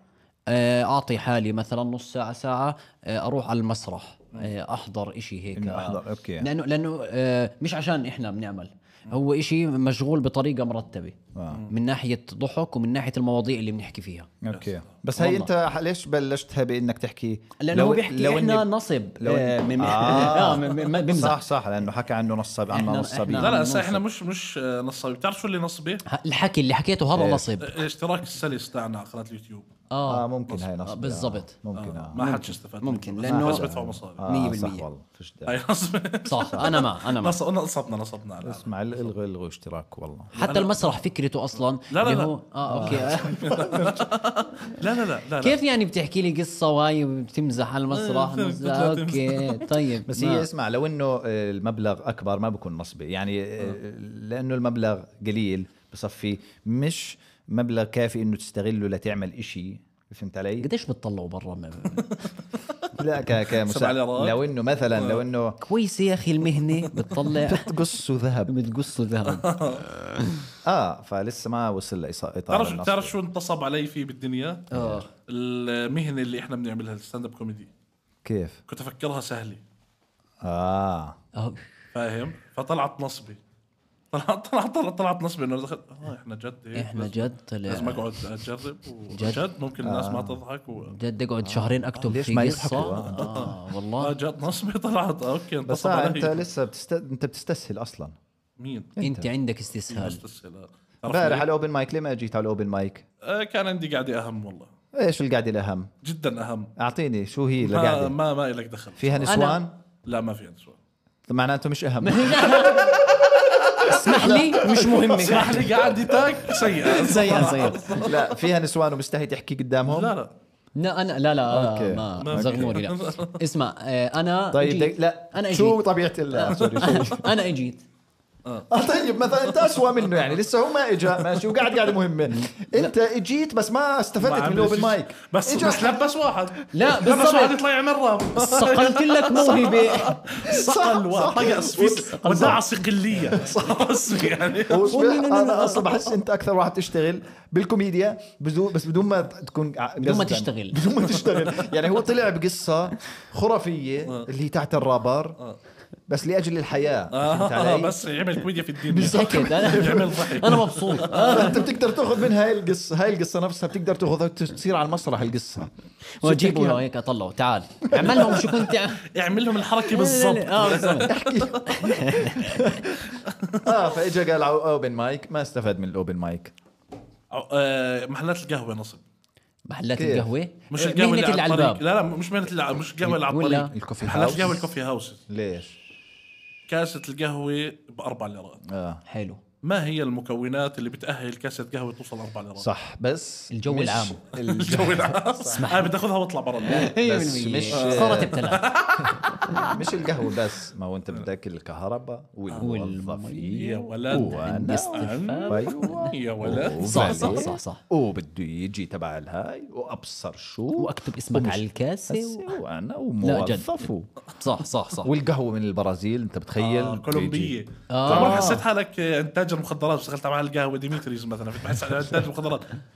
آه، اعطي حالي مثلا نص ساعه ساعه آه، اروح على المسرح آه، احضر اشي هيك إنه آه. أحضر، أوكي. لانه لانه آه، مش عشان احنا بنعمل هو اشي مشغول بطريقه مرتبه آه. من ناحيه ضحك ومن ناحيه المواضيع اللي بنحكي فيها اوكي بس هي والله. انت ليش بلشتها بانك تحكي لانه هو بيحكي احنا إني- نصب لو إني- آه، من آه. (laughs) آه، من- من- من- بمزح صح صح لانه حكى عنه نصب عنا إحنا- نصابين لا إحنا- لا عم هسا احنا ننصب. مش مش آه، نصابين بتعرف شو اللي آه، نصبي؟ الحكي اللي حكيته إيه. هذا نصب الاشتراك السلس تاعنا على قناه اليوتيوب اه اه ممكن هاي آه، نصب بالضبط. آه، ممكن اه ما حدش استفاد ممكن، منه. لأنه- بس بدفعوا مصاري آه، 100%. صح والله فيش داعي. اي نصب (laughs) صح انا مع انا مع نص- نصبنا نصبنا على العالم. اسمع الغوا الغوا اشتراك والله حتى المسرح فكرته اصلا لا، لا، اللي لا. آه، هو اه (laughs) اوكي لا لا لا لا لا كيف يعني بتحكي لي قصه وهي بتمزح على (laughs) المسرح آه، مز- بتطلع تمزح. اوكي طيب بس ما- هي اسمع لو انه المبلغ اكبر آه، آه. ما بكون نصبي يعني لانه المبلغ قليل بصفي مش مبلغ كافي انه تستغله لتعمل إشي فهمت علي؟ قديش بتطلعوا برا م- لا ك كمساعد ليرات. لو انه آه. مثلا لو انه كويسه يا اخي المهنه بتطلع (laughs) بتقصوا (laughs) ذهب بتقصوا (laughs) ذهب اه فلسه ما وصل لإصا- اطار تعرف النص. تعرف شو انتصب علي فيه بالدنيا؟ آه. المهنه اللي احنا بنعملها الستاند اب كوميدي كيف؟ كنت افكرها سهله اه آه. فاهم؟ فطلعت نصبي طلعت طلعت طلعت, طلعت نصبي انه دخل اه احنا جد هيك احنا لازم- جد لازم طلع اقعد اجرب جد؟ آه. وجد ممكن الناس ما تضحك و... جد اقعد شهرين اكتب ليش في ما قصه يضحكوا؟ آه. اه اه (laughs) والله جد نصبي (laughs) طلعت آه، اوكي بس انتصب آه علي انت لسه بتست... انت بتستسهل اصلا مين؟ انت عندك مين استسهال استسهل امبارح على الاوبن مايك ليه ما جيت على الاوبن مايك؟ آه، كان عندي قاعده اهم والله ايش القعده الاهم؟ جدا اهم اعطيني شو هي ما القعده؟ ما, ما لك دخل فيها نسوان؟ لا ما في سؤال معناته (laughs) مش اهم اسمح لي مش مهمه اسمح (laughs) لي قعدتك (laughs) سيئه سيئة سيئة لا فيها نسوان ومستحي تحكي قدامهم لا لا لا انا لا لا أوكي. آه، ما ما ما زغموري لا (laughs) اسمع آه، انا طيب جيت. دق- لا انا شو اجيت طبيعه ال (laughs) آه، سوري شو (laughs) انا اجيت آه طيب مثلا انت اسوء منه يعني لسه هو ما اجى ماشي وقاعد قاعده مهمه انت اجيت بس ما ما استفدت من عمل الاوبن شيء. مايك بس إجا- بس لبس واحد لا، لبس بالضبط. واحد يطلع يعمل راب صقلت لك (laughs) موهبه صقل صح. واحد طقس في وداع (laughs) صقليه صقص (laughs) يعني وصبح انا اصلا بحس انت اكثر واحد تشتغل بالكوميديا بدون بس بدون ما تكون ع- بدون ما قصداً. تشتغل. (laughs) بدون ما تشتغل يعني هو طلع بقصه آه. خرافيه اللي هي تحت الرابر بس لاجل الحياه فهمت آه، علي؟ بس يعمل كوميديا في الدنيا بالضبط انا (laughs) يعمل ضحك انا مبسوط انت آه، بتقدر تاخذ من هاي القصه هاي القصه نفسها بتقدر تاخذها وتصير على المسرح القصه واجيبه لو هيك اطلعه تعال اعمل لهم شو كنت عم- (laughs) اعمل لهم الحركه لا، لا، بالضبط لا، (laughs) آه، بالضبط. (laughs) اه فاجا قال على اوبن مايك ما استفاد من الاوبن مايك آه، محلات القهوه نصب محلات كيف؟ القهوه مش القهوه مهنة اللي على العلباب. الطريق لا لا مش مهنه الع- مش القهوه اللي على ولا الطريق الكوفي محلات هاوس. القهوه الكوفي هاوس ليش؟ كاسه القهوه باربع ليرات آه. اه حلو ما هي المكونات اللي بتاهل كاسه قهوه توصل اربع ليرات صح بس الجو مش- العام. (laughs) الجو (laughs) الجو العام انا بدي اخذها واطلع برا بس مش- آه. صارت ابتلاء مش القهوه بس ما هو انت بدك الكهرباء يا والموظفين ولد وانا استفاد. أيوة. يا ولد صح، صح، صح، صح. وبده يجي تبع الهاي وابصر شو واكتب اسمك على الكاسه و- هسه وانا لا، جد. وموظف و- صح صح صح (laughs) والقهوه من البرازيل انت بتخيل آه، بيجي. كولومبيه آه. عمرك حسيت حالك آه، انتاج المخدرات اشتغلت مع القهوه ديمتريز مثلا كنت بحس على انتاج المخدرات القهوه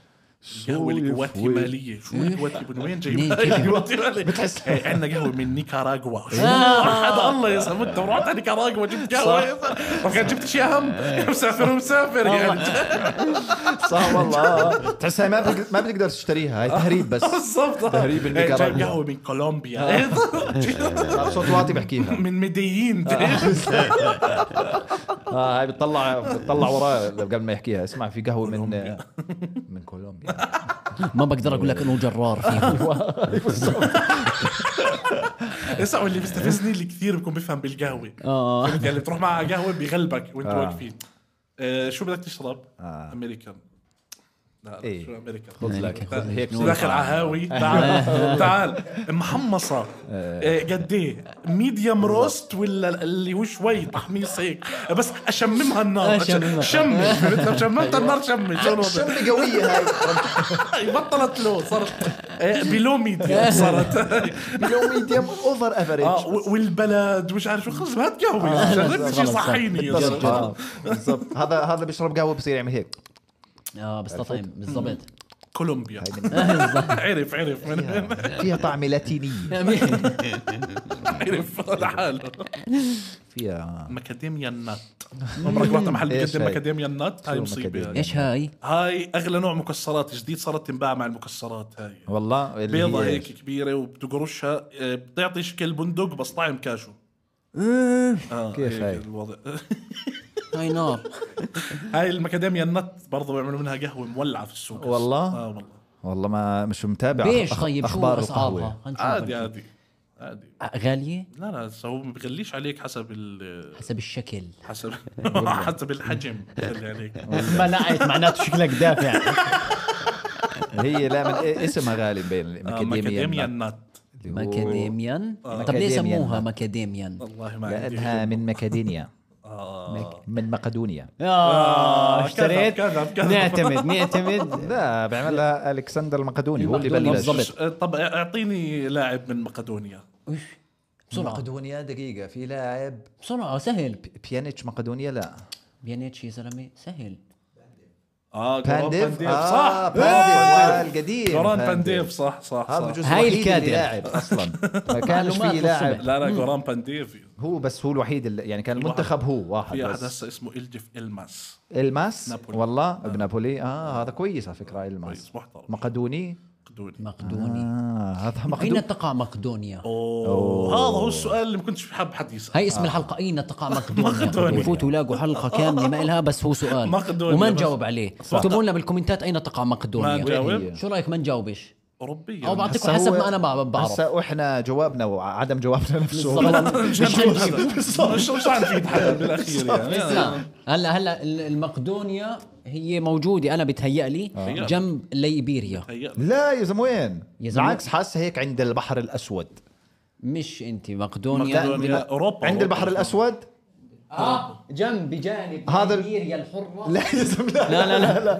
الجواتيماليه شو إيه. الجواتي من وين (laughs) جايبين منين جايبين؟ بتحس إيه، عندنا قهوه من نيكاراغوا شو آه. آه. هذا الله يا زلمه انت رحت على نيكاراغوا جبت قهوه يا زلمة. ما كان جبت شيء اهم مسافر مسافر يعني صح والله تحسها ما بتق- ما بتقدر تشتريها هاي تهريب بس بالضبط آه. تهريب إيه، النيكاراغوا. جايب قهوه من كولومبيا (laughs) صوت واطي بحكيها من مديين اه هاي بتطلع بتطلع وراه قبل ما يحكيها اسمع في قهوه من من كولومبيا ما بقدر اقول لك انه جرار فيهم اسمع واللي بيستفزني اللي كثير بيكون بيفهم بالقهوه اه فهمت؟ يعني بتروح مع قهوه بيغلبك وانت آه. واقفين آه، شو بدك تشرب؟ آه. امريكان لا إيه. إيه؟ شو امريكان خذ لك خذ هيك داخل عهاوي (laughs) تعال تعال محمصه آه، قد ايه ميديوم روست ولا اللي هو شوي تحميص هيك بس اشممها النار أشممها. شمي فهمت؟ لو شممت النار شمي (laughs) شو الوضع؟ شمي قويه هاي (laughs) بطلت لو صارت آه، بلو (laughs) ميديا صارت بلو ميديم اوفر اه افريج و- والبلد مش عارف شو خلص هات آه، قهوه شربت شيء غلط، صح. يعني، صحيني يا بالضبط زلمة. (laughs) آه، بالضبط هذا هذا بيشرب قهوه بصير يعمل هيك اه بستطعم (laughs) بالضبط كولومبيا عرف عرف من من- فيها طعمه لاتينيه عرف لحاله فيها ماكاديميا النت عمرك رحت محل إيش بيقدم هاي؟ ماكاديميا النت هاي شو مصيبه ماكاديميا؟ هاي. ايش هاي؟ هاي اغلى نوع مكسرات جديد صارت تنباع مع المكسرات هاي والله اللي بيضة هي- هيك كبيرة وبتقرشها آه، بتعطي شكل بندق بس طعم كاشو آه إيه، كيف هيك هاي؟ الوضع (laughs) هاي نار هاي الماكاديميا النت برضه بيعملوا منها قهوة مولعة في السوق والله؟ اه والله والله ما مش متابع بيش أخ- طيب شو اخبار القهوه اسعارها؟ هنشوف عادي هنشوف. عادي عادي غاليه؟ لا لا هسه هو ما بغليش عليك حسب ال حسب الشكل حسب (laughs) حسب الحجم اللي عليك (laughs) منعت معناته شكلك دافع (laughs) هي لا من إيه اسمها غالي بين آه، ماكاديميا ماكاديميا النت اللي هو- ماكاديميان طب ليه آه. ماكاديميان. سموها ماكاديميان والله ما عندي لانها من ماكادينيا آه، آه. من مقدونيا آه، اه كذب، اشتريت كذب، (laughs) كذب. (laughs) نعتمد نعتمد لا بيعملها الكسندر المقدوني هو اللي المقدوني. بلش بالضبط. آه، طب اعطيني لاعب من مقدونيا بسرعه مقدونيا دقيقه في لاعب بسرعه سهل يعني بيانيتش مقدونيا لا بيانيتش يا زلمه سهل اه جوران بانديف بانديف اه صح بانديف القديم جوران بانديف صح صح هذا صح بجوز هاي الوحيد اللي الكادر. (laughs) لاعب اصلا ما كانش معلومات في لاعب والصبح. لا لا جوران بانديف هو بس هو الوحيد اللي يعني كان المنتخب هو واحد في احد بس هسه اسمه الجف الماس الماس نابولي. والله بنابولي اه هذا كويس على فكره الماس كويس محترم مقدوني مقدوني مقدوني اه هذا اين مقدوني تقع مقدونيا اوه هذا هو السؤال اللي ما كنتش حاب حد يسال هاي اسم الحلقه اين تقع مقدونيا مقدونيا. آه. آه. بفوتوا يلاقوا حلقه كامله ما إلها بس هو سؤال مقدونيا وما بس. نجاوب عليه اكتبوا لنا بالكومنتات اين تقع ما مقدونيا نجاوب شو رايك ما نجاوبش اوروبيه او بعطيكم هسا حسب هو- ما انا ب- بعرف هسا احنا جوابنا وعدم جوابنا (laughs) (laughs) نفسه بالضبط. مش مش مش عم في حدا بالاخير يعني لا. هلا هلا ال- المقدونيا هي موجوده انا بتهيأ لي آه. جنب ليبيريا تهيألي. لا يا زلمه وين؟ يا زلمة. بالعكس حاسه هيك عند البحر الاسود مش انت مقدونيا مقدونيا اوروبا عند البحر أوروبا. الاسود اه جنب بجانب هذا ال- ليبيريا الحره لا يا زلمه لا لا، لا، لا.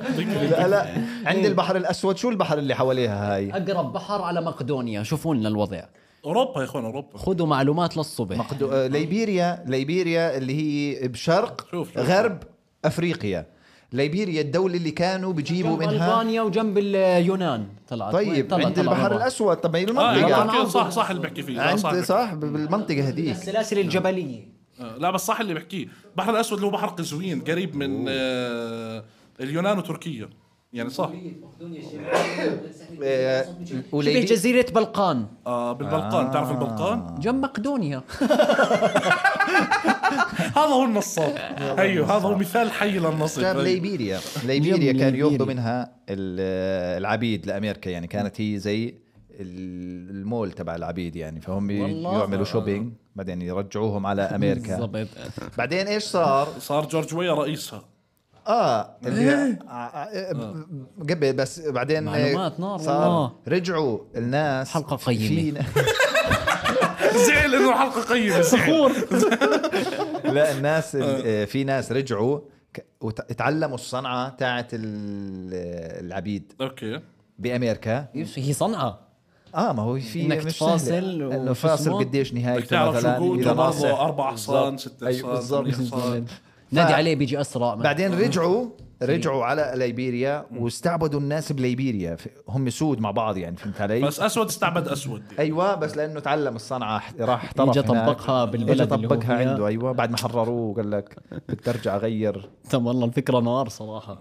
لا لا عند البحر الاسود شو البحر اللي حواليها هاي؟ اقرب بحر على مقدونيا شوفوا لنا الوضع اوروبا يا اخوان اوروبا خذوا معلومات للصبح مقدو... آه، ليبيريا ليبيريا اللي هي بشرق أيوة. شوف، شوف. غرب افريقيا ليبيريا الدولة اللي كانوا بيجيبوا جنب منها البانيا وجنب اليونان طلعت طيب طلع- عند طلع البحر برا. الاسود طب ما هي اه المنطقة يعني. أوكي، صح صح اللي بحكي فيه لا، صح عند اللي آه، صح بالمنطقة هذيك السلاسل الجبليه آه، لا بس صح اللي بحكيه البحر الاسود اللي هو بحر قزوين قريب من آه اليونان وتركيا يعني صح آه، شبه وليبي- جزيره بلقان آه بالبلقان تعرف البلقان جنب (laughs) مقدونيا هذا هو (laughs) النصاب ايوه هذا هو مثال حي للنصب كان أيوه. ليبيريا ليبيريا. ليبيريا كان ياخذوا منها ال- العبيد لامريكا يعني كانت هي زي ال- المول تبع العبيد يعني فهم والله. يعملوا شوبينج بعدين يرجعوهم على امريكا بالضبط بعدين ايش صار؟ صار جورج ويا رئيسها (laughs) اه اللي آه، قبل بس بعدين معلومات نار صار والله. رجعوا الناس حلقة قيمة. (laughs) في- زعل انه حلقه قيمه (laughs) زعل لا الناس ال- آه، في ناس رجعوا ك- وت- تعلموا الصنعه تاعت ال- العبيد اوكي بامريكا (laughs) هي صنعة اه ما هو في إنك مش تفاصل سهلة. انه وشو فاصل اسمه؟ قديش بدك نهايته تعرف شو مثلا قوته اذا برضه ناصح اربع حصان ست أيوة، حصان بالضبط. ثمانية حصان (laughs) نادي عليه بيجي اسرع بعدين رجعوا رجعوا على ليبيريا واستعبدوا الناس بليبيريا ف- هم سود مع بعض يعني فهمت علي؟ بس اسود استعبد اسود يعني. ايوه بس لانه تعلم الصنعه ح- راح احترف اجى هناك. طبقها بالبلد اجى اللي هو طبقها فيها. عنده ايوه بعد ما حرروه قال لك بدي ارجع اغير طب والله الفكرة نار صراحة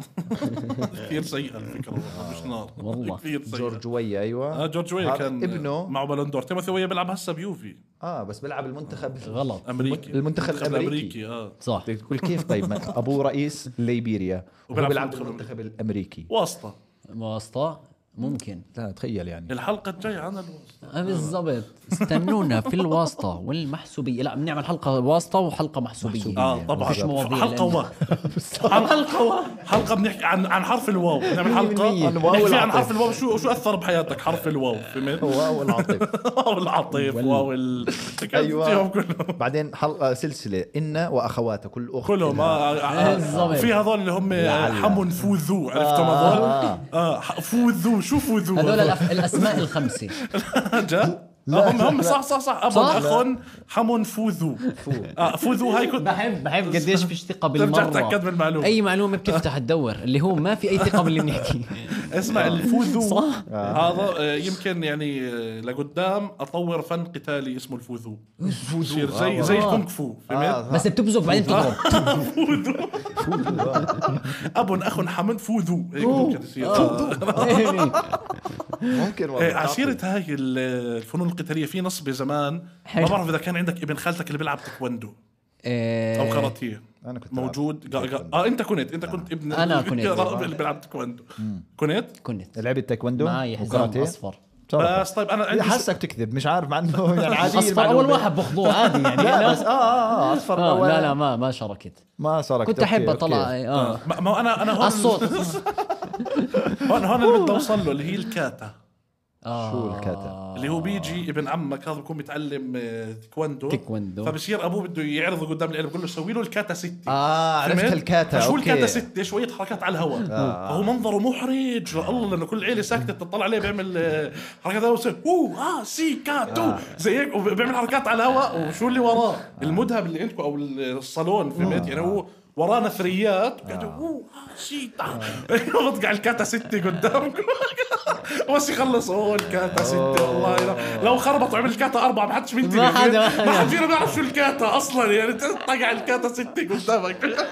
كثير سيئه الفكره والله، مش نار آه، والله. كثير سيئه جورج ويا ايوه آه جورج ويا هذا كان ابنه معه بلندور تيموثي ويا بيلعب هسه بيوفي اه بس بيلعب المنتخب غلط امريكي المنتخب الأمريكي. اه صح تقول كيف طيب ما ابوه رئيس ليبيريا وبيلعب في وهو بيلعب المنتخب بالمنتخب الامريكي واسطه واسطة ممكن لا (laughs) تخيل يعني الحلقه الجايه عن الواسطه آه، بالضبط استنونا في الواسطة والمحسوبية لا بنعمل حلقة واسطة وحلقة محسوبية اه طبعا مفيش مواضيع حلقه لأنه- واو (laughs) حلقه واو حلقه بنحكي عن عن حرف الواو بنعمل حلقه الواو بنحكي فيها عن والعطف. حرف الواو شو شو اثر بحياتك حرف الواو فهمت؟ (laughs) (laughs) واو العاطف واو العاطف واو ال أيوة. فيهم كلهم بعدين آه، حلقه سلسله ان واخواتها كل اخت كلهم لها- اه آه، آه. بالضبط. في هذول اللي هم حمون فوذو عرفتهم هذول؟ اه ح- فوذو شو فوذو هذول الأف- الاسماء الخمسة (laughs) جا لا هم هم صح صح صح ابن صح؟ اخ حمون فوذو آه، فوذو هاي (laughs) كنت بحب بحب قديش فيش ثقة ترجع بالمرة تتاكد من المعلومه اي معلومة بتفتح تدور اللي هو ما في اي ثقة باللي بنحكي اسمع الفوذو صح. هذا آه، يمكن يعني آه، لقدام اطور فن قتالي اسمه الفوذو يصير زي آه. زي الكونغ فو فهمت؟ آه. بس بتبزق بعدين بتضرب اب اخ حمد فوذو هيك ممكن يصير آه. (laughs) (laughs) ممكن والله إيه، عسيرة هاي ال- الفنون القتالية في نصبة زمان حلو. ما بعرف إذا كان عندك ابن خالتك اللي بيلعب تايكوندو إيه، أو كاراتيه أنا كنت موجود قا- قا- تايكوندو. اه انت كنت انت كنت ابن (laughs) أنا كنت. اللي بيلعب تايكوندو كنت كنت لعبت تايكوندو معي حزام وكاراتيه؟ اصفر بصراحة. بس طيب انا عندي سؤال. حاسك تكذب مش عارف مع انه (laughs) يعني عادي اصفر اول المعلومة. واحد باخذوه عادي (laughs) يعني لا لا بس اه اه اه اصفر آه، اول لا لا ما ما شاركت ما صارك كنت احب اطلع آه. اه ما (laughs) (laughs) ما هو انا انا هون الصوت (laughs) هون هون اللي بدي اوصل له اللي هي الكاتا آه. شو الكتب؟ اللي هو بيجي ابن عمك هذا بكون بيتعلم آه، تايكوندو تايكوندو. فبصير ابوه بده يعرضه قدام العيله بقول له سوي له الكاتا ستة اه عرفت فهمت؟ الكاتا شو الكاتا اوكي ستة شوية حركات على الهواء فهو منظره محرج يا الله لانه كل العيلة ساكتة تطلع عليه بيعمل آه، حركات على الهواء اوه اه سي كاتو زي هيك وبيعمل حركات على الهواء وشو اللي وراه المذهب اللي عندكم او الصالون فهمت يعني هو وراه نثريات وقاعد يقول، اوه آه، سي تا (laughs) بطقع الكاتا ستة قدامكم (laughs) بس يخلص اوه الكاتا ستة والله لا- لو خربط وعمل كاتا أربعة ما حدش بينتبه ما حدا- ما حدا. ما حد فينا بيعرف شو الكاتا أصلا يعني تطقع الكاتا ستة قدامك (laughs)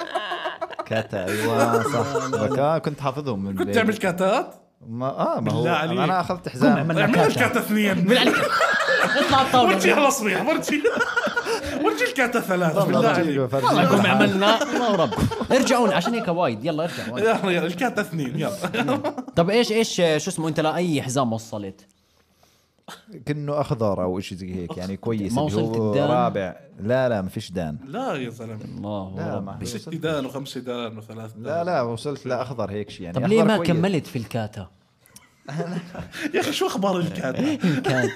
كاتا (laughs) ايوه صح لك، آه، كنت حافظهم من كنت بيت. تعمل كاتات ما اه ما هو بالله عليك. انا اخذت حزام عملنا اعمل لك كاتا. كاتا اثنين بالعلك يعني اطلع ورجي الطاوله على الصبيح ورجي (laughs) ورجي الكاتا ثلاث بالله عليك والله والله كنا عملنا الله رب ارجعون عشان هيك وايد يلا ارجعون يلا يلا الكاتا اثنين يلا طب ايش ايش آه، شو اسمه انت لاي حزام وصلت؟ كأنه اخضر او شيء زي هيك يعني كويس ما اللي وصلت هو الدان؟ رابع لا لا ما فيش دان لا يا زلمه الله لا رب ما ست وصلت دان وخمس دان وثلاث دان لا لا وصلت لاخضر هيك شيء يعني طب ليه أخضر ما كويس. كملت في الكاتا؟ يا اخي شو اخبار الكاتا؟ (laughs) الكاتا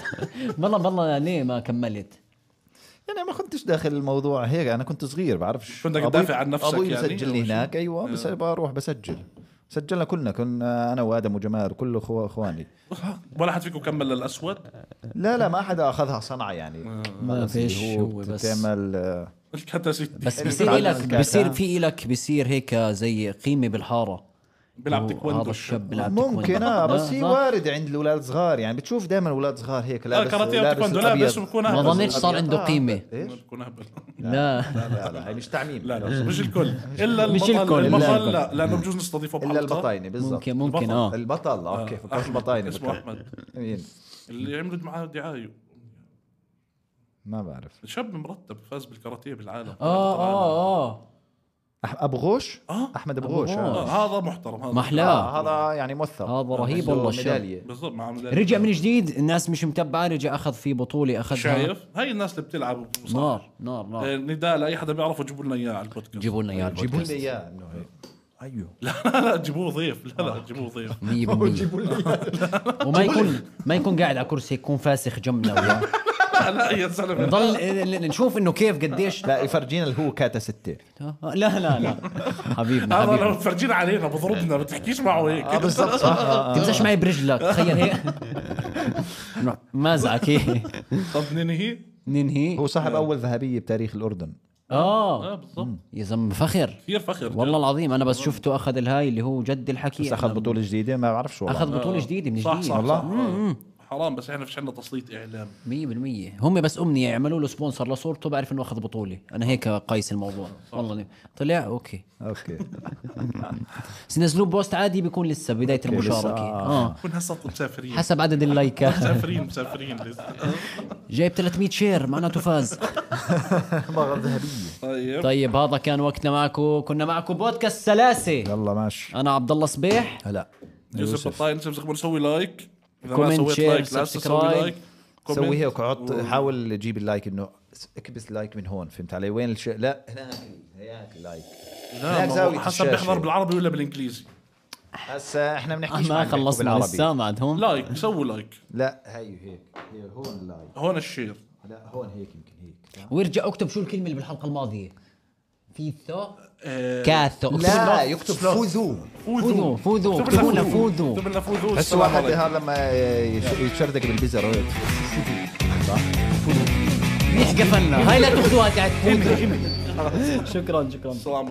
والله والله ليه ما كملت؟ يعني ما كنتش داخل الموضوع هيك انا كنت صغير بعرفش كنت بدك أبوي- تدافع عن نفسك ابوي يعني، مسجلني أو شيء. هناك ايوه بس بروح بسجل سجلنا كلنا كنا انا وادم وجمال وكل أخو- اخواني ولا حد فيكم كمل للاسود؟ لا لا ما حدا اخذها صنعه آه. يعني ما فيش هو هو بس بتعمل آه، الكاتا ستة بس بصير بتعلم إلك الكاتا. بصير في إلك بصير هيك زي قيمة بالحارة بيلعب هو تايكوندو هذا الشاب بيلعب ممكن تايكوندو. اه بس صح؟ هي وارد عند الاولاد الصغار يعني بتشوف دائما اولاد صغار هيك لا لابس كاراتيه لابس وتايكوندو آه، لا بس الابيض بكون ما أهبل. ظنيتش صار عنده آه، قيمة ايش بكون أهبل. لا لا لا هي مش تعميم لا لا مش الكل الا مش البطل الكل، إلا البطل الكل. لا لانه بجوز نستضيفه الا بحلقه البطاينه بالضبط ممكن ممكن اه البطل اوكي فكرت آه، أحمد، البطاينه اسمه بكرة. احمد مين اللي عملت معاه دعايه ما بعرف شاب مرتب فاز بالكاراتيه بالعالم اه اه اه أح- ابو غوش آه. احمد ابو أبو غوش غوش. آه. آه، هذا محترم هذا ما احلاه آه، هذا يعني موثق هذا رهيب عنده والله الشاب. ميدالية. بالضبط مع عمل رجع من جديد الناس مش متبعة رجع أخذ في بطولة أخذها شايف إيه. هاي الناس اللي بتلعب صح نار نار نار نداء لاي حدا بيعرفه جيبوا لنا اياه على البودكاست جيبوا لنا اياه جيبوا لي البودكاست. اياه انه هيك ايوه لا لا جيبوه ضيف لا لا جيبوه ضيف (laughs) 100% (laughs) وما يكون ما يكون قاعد على كرسي يكون فاسخ جنبنا وياه. لا لا يا زلمه نضل ن- ن- نشوف انه كيف قديش لا يفرجينا اللي هو كاتا (laughs) ستة لا لا لا حبيبنا هذا حبيبنا لو تفرجين علينا بضربنا ما تحكيش معه هيك اه بالضبط صح آه، آه. تمسحش معي برجلك تخيل (laughs) هيك نروح مازعك هيك طب ننهي ننهي هو صاحب اول ذهبية بتاريخ الاردن اه اه بالضبط يا زلمه فخر كثير فخر والله العظيم انا بس شفته اخذ الهاي اللي هو جد الحكي بس اخذ أنا- بطولة جديدة ما بعرفش والله اخذ بطوله جديده من صح جديد صح والله. صح. حرام بس احنا فيش عندنا تسليط اعلام 100% هم بس امنيه يعملوا له سبونسر لصورته بعرف انه اخذ بطوله انا هيك قايس الموضوع والله نعم. طلع اوكي اوكي بس ينزلوه بوست عادي بيكون لسه بدايه لسه، المشاركه آه. اه كنا هسه مسافرين حسب عدد (laughs) اللايكات مسافرين مسافرين طيب. لسه. جايب 300 شير معناته فاز بغل ذهبية طيب طيب هذا كان وقتنا معكم كنا معكم بودكاست سلاسه يلا ماشي انا عبد الله صبيح هلا يوسف بطاين انت بتخبر سوي لايك اذا ما كومنت، سويت شير، لايك لا تسوي سبسكرايب. لايك سوي كومنت. هيك حط حاول تجيب اللايك انه اكبس لايك من هون فهمت علي وين الشيء لا هناك هناك لايك لا ما هو حسب بيحضر بالعربي ولا بالانجليزي هسا احنا بنحكيش ما عن بيحكوا خلصنا بالعربي. لسه بعدهم لايك سووا لايك لا هي هيك هي هون اللايك هون الشير لا هون هيك يمكن هيك ويرجع اكتب شو الكلمه اللي بالحلقه الماضيه فيثو آه، كاثو لا يكتب فوزو فوذو فوذو اكتب لنا اكتبوا لنا فوذو اكتب لنا فوذو بس السلام واحد عليكم. هذا لما يش- يتشردق بالبزر هيك منيح قفلنا هاي لا تاخذوها تاعت فوذو شكرا شكرا السلام